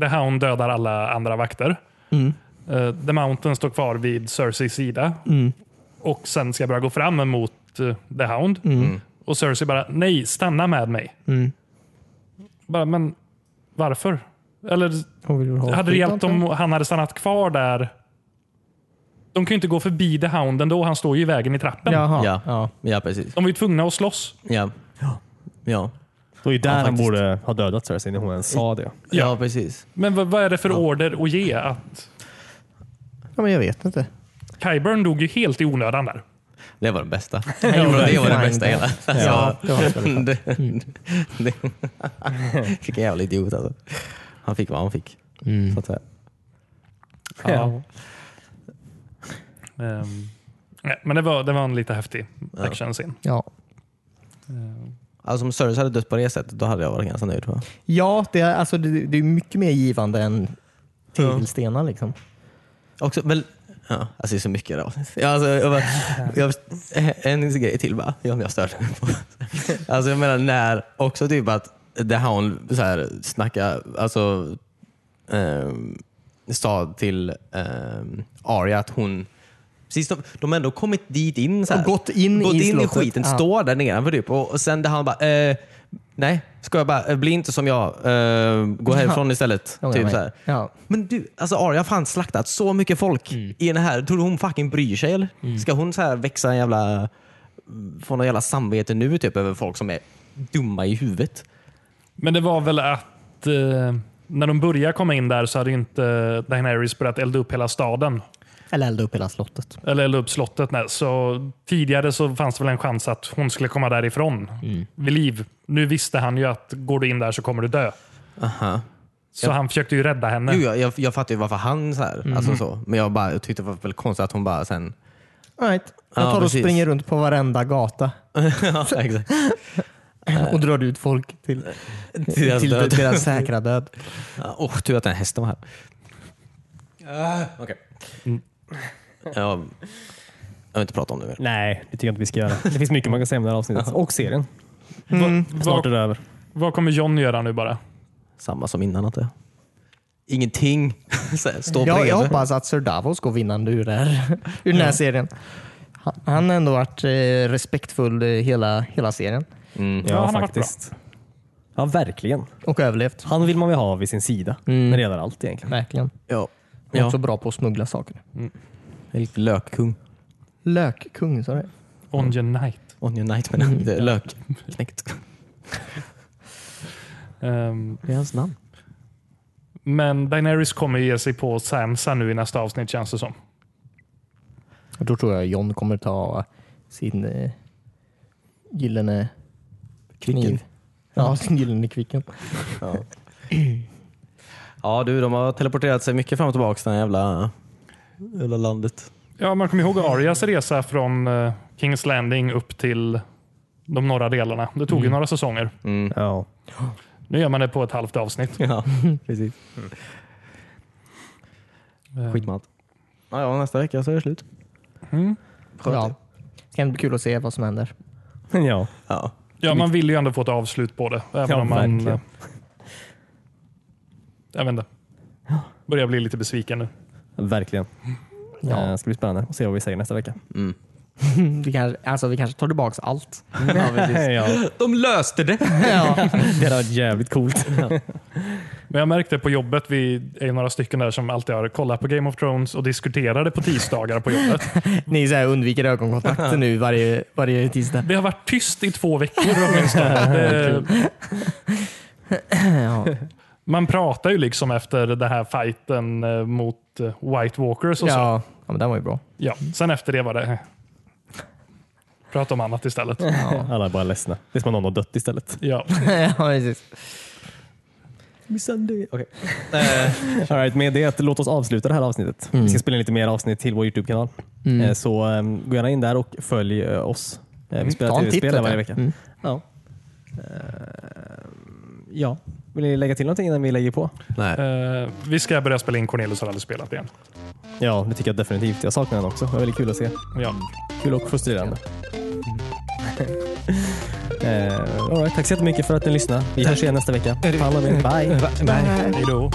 Speaker 3: The Hound dödar alla andra vakter.
Speaker 4: Mm.
Speaker 3: Eh, The Mountain står kvar vid Cerseis sida
Speaker 4: Mm.
Speaker 3: och sen ska jag börja gå fram mot eh, The Hound.
Speaker 4: Mm.
Speaker 3: Och Cersei bara, nej, stanna med mig.
Speaker 4: Mm.
Speaker 3: Bara, men varför? Eller
Speaker 4: Hon vill väl ha
Speaker 3: hade det
Speaker 4: skit,
Speaker 3: hjälpt
Speaker 4: antar jag.
Speaker 3: om han hade stannat kvar där? De kan ju inte gå förbi The Hound ändå, han står ju i vägen i trappen.
Speaker 4: Jaha.
Speaker 1: Ja.
Speaker 4: Ja. Ja.
Speaker 1: Ja, precis.
Speaker 3: De var ju tvungna att slåss.
Speaker 1: Ja. Ja.
Speaker 2: Det var ju där
Speaker 1: Ja,
Speaker 2: han
Speaker 1: faktiskt.
Speaker 2: borde ha dödat Cersei när hon ens sa det.
Speaker 1: Ja, precis.
Speaker 3: Men vad, vad är det för order att ge? Att
Speaker 4: men jag vet inte.
Speaker 3: Kyburn dog ju helt i onödan där.
Speaker 1: Det var den bästa. det var det, var det bästa hela.
Speaker 4: Ja, det var det
Speaker 1: det, det,
Speaker 4: Mm.
Speaker 1: Vilken jävla idiot alltså. Han fick vad han fick.
Speaker 4: Mm.
Speaker 1: Så att säga.
Speaker 3: Ja. Ehm, nej, men det var, det var en lite häftig actionscen.
Speaker 4: Ja.
Speaker 1: Alltså om Cersei hade dött på det sättet, då hade jag varit ganska nöjd. tror jag.
Speaker 4: Ja, det är, alltså, det, det är mycket mer givande än tegelstenar liksom.
Speaker 1: Också, väl, ja, alltså det är så mycket i det här avsnittet. ja, alltså, jag bara, jag, eh, En grej till bara, ja, men jag störde mig på. Alltså jag menar när, också typ att det här hon så här, snackar, alltså ehm, sa till ehm, Arya att hon Precis, de, de har ändå kommit dit in. Så här,
Speaker 4: Och gått in
Speaker 1: gått
Speaker 4: i
Speaker 1: in i
Speaker 4: slottet.
Speaker 1: skiten,
Speaker 4: Ja.
Speaker 1: står där nedanför typ. Och, och sen där han bara, eh, nej, ska jag bara, eh, bli inte som jag, eh, gå härifrån istället.
Speaker 4: Ja,
Speaker 1: Typ
Speaker 4: men-
Speaker 1: så här.
Speaker 4: Ja.
Speaker 1: Men du, alltså Arya har fan slaktat så mycket folk i den här. Tror du hon fucking bryr sig eller? Ska hon så här växa en jävla... Få någon jävla samvete nu typ över folk som är dumma i huvudet?
Speaker 3: Men det var väl att eh, när de började komma in där så hade ju inte Daenerys börjat elda upp hela staden.
Speaker 4: Eller elda upp hela slottet.
Speaker 3: Eller elda upp slottet. Nej. Så tidigare så fanns det väl en chans att hon skulle komma därifrån vid liv. Nu visste han ju att går du in där så kommer du dö.
Speaker 1: Aha.
Speaker 3: Så han försökte ju rädda henne.
Speaker 1: Jo, jag, jag, jag fattar ju varför han så här. Alltså så. Men jag, bara, jag tyckte det var väl konstigt att hon bara sen...
Speaker 4: All right. Jag
Speaker 1: Ja,
Speaker 4: tar och
Speaker 1: precis.
Speaker 4: springer runt på varenda gata
Speaker 1: ja, exakt.
Speaker 4: och drar ut folk till, till,
Speaker 1: deras död.
Speaker 4: deras säkra död.
Speaker 1: Ja, Åh, tur att den hästen var här. Ah, Mm. Okej. Ja, jag vill inte prata om det mer.
Speaker 2: Nej, det tycker jag inte vi ska göra. Det finns mycket man kan säga om det här avsnittet. Och serien. Snart är
Speaker 3: vad,
Speaker 2: det över.
Speaker 3: vad kommer John göra nu bara?
Speaker 1: Samma som innan antar jag. Ingenting. Så här, Stå
Speaker 4: Jag,
Speaker 1: bredvid.
Speaker 4: jag hoppas att Sir Davos går vinnande ur, det här, ur den här serien. Han- Han har ändå varit eh, respektfull eh, hela, hela serien
Speaker 1: Mm.
Speaker 3: Ja, han har varit
Speaker 2: faktiskt. Ja, verkligen.
Speaker 4: och överlevt.
Speaker 2: Han vill man väl ha vid sin sida
Speaker 4: Mm.
Speaker 2: när det gäller allt egentligen.
Speaker 4: Verkligen.
Speaker 1: Ja.
Speaker 4: Och
Speaker 1: Ja.
Speaker 4: också bra på att smuggla saker.
Speaker 1: Helt lökkung.
Speaker 4: Lökkung sa du?
Speaker 3: Onion Knight.
Speaker 1: Onion Knight menar jag. Det är Lök. Knäckt.
Speaker 3: Ehm,
Speaker 1: Det är hans namn.
Speaker 3: men Daenerys kommer ju ge sig på Sansa nu i nästa avsnitt känns det som.
Speaker 4: Och Då tror jag John kommer ta sin eh, gyllene kniv. Ja, sin gyllene kvicken.
Speaker 1: Ja du, de har teleporterat sig mycket fram och tillbaka till det här jävla, jävla landet.
Speaker 3: Ja, man kommer ihåg Arias resa från eh, Kings Landing upp till de norra delarna. Det tog ju några säsonger.
Speaker 1: Mm.
Speaker 2: Ja.
Speaker 3: Nu gör man det på ett halvt avsnitt.
Speaker 1: Ja, precis.
Speaker 3: Eh,
Speaker 1: Skit med allt. Ja, ja, nästa vecka så är det slut.
Speaker 3: Mm.
Speaker 1: Skönt.
Speaker 4: Ja. Det kan bli kul att se vad som händer.
Speaker 2: ja.
Speaker 1: Ja.
Speaker 3: Ja, man vill ju ändå få ett avslut på det. Även
Speaker 2: Ja,
Speaker 3: om man...
Speaker 2: verkligen.
Speaker 3: eh, Jag vet inte. Börjar bli lite besviken nu.
Speaker 2: Verkligen.
Speaker 4: Ja.
Speaker 2: Eh, Det ska bli spännande att se vad vi säger nästa vecka.
Speaker 4: Vi kanske, alltså, vi kanske tar tillbaka allt.
Speaker 2: ja.
Speaker 1: De löste det!
Speaker 4: ja.
Speaker 2: Det hade varit jävligt coolt.
Speaker 3: Men jag märkte på jobbet, vi är ju några stycken där som alltid har kollat på Game of Thrones och diskuterar det på tisdagar på jobbet.
Speaker 4: Ni så här undviker ögonkontakter nu varje, varje tisdag.
Speaker 3: Det har varit tyst i två veckor åtminstone. Det,
Speaker 4: Ja.
Speaker 3: man pratar ju liksom efter den här fighten eh, mot eh, White Walkers och så.
Speaker 4: Ja. ja, men den var ju bra.
Speaker 3: Ja, sen efter det var det... Prata om annat istället.
Speaker 2: Alla är bara ledsna. Det är som om någon har dött istället.
Speaker 3: Ja.
Speaker 4: ja, precis.
Speaker 1: Okej. Eh.
Speaker 2: All right, med det, låt oss avsluta det här avsnittet. Vi ska spela in lite mer avsnitt till vår Youtube-kanal.
Speaker 4: Mm.
Speaker 2: Eh, Så um, gå gärna in där och följ eh, oss. Eh, Vi spelar
Speaker 4: Mm. Ta en titt.
Speaker 2: tv-spel där
Speaker 4: vet
Speaker 2: varje
Speaker 4: jag.
Speaker 2: vecka.
Speaker 4: Mm.
Speaker 2: Ja. Eh, ja. Vill ni lägga till någonting innan vi lägger på?
Speaker 1: Nej.
Speaker 3: Eh, vi ska börja spela in Cornelius har aldrig spelat igen.
Speaker 2: Ja, det tycker jag definitivt. Jag saknar den också. Det var väldigt kul att se.
Speaker 3: Ja.
Speaker 2: Kul och frustrerande. Eh, all right, tack så jättemycket för att ni lyssnade. Vi hörs igen nästa vecka. Ta hand om er. Bye.
Speaker 3: Hej då.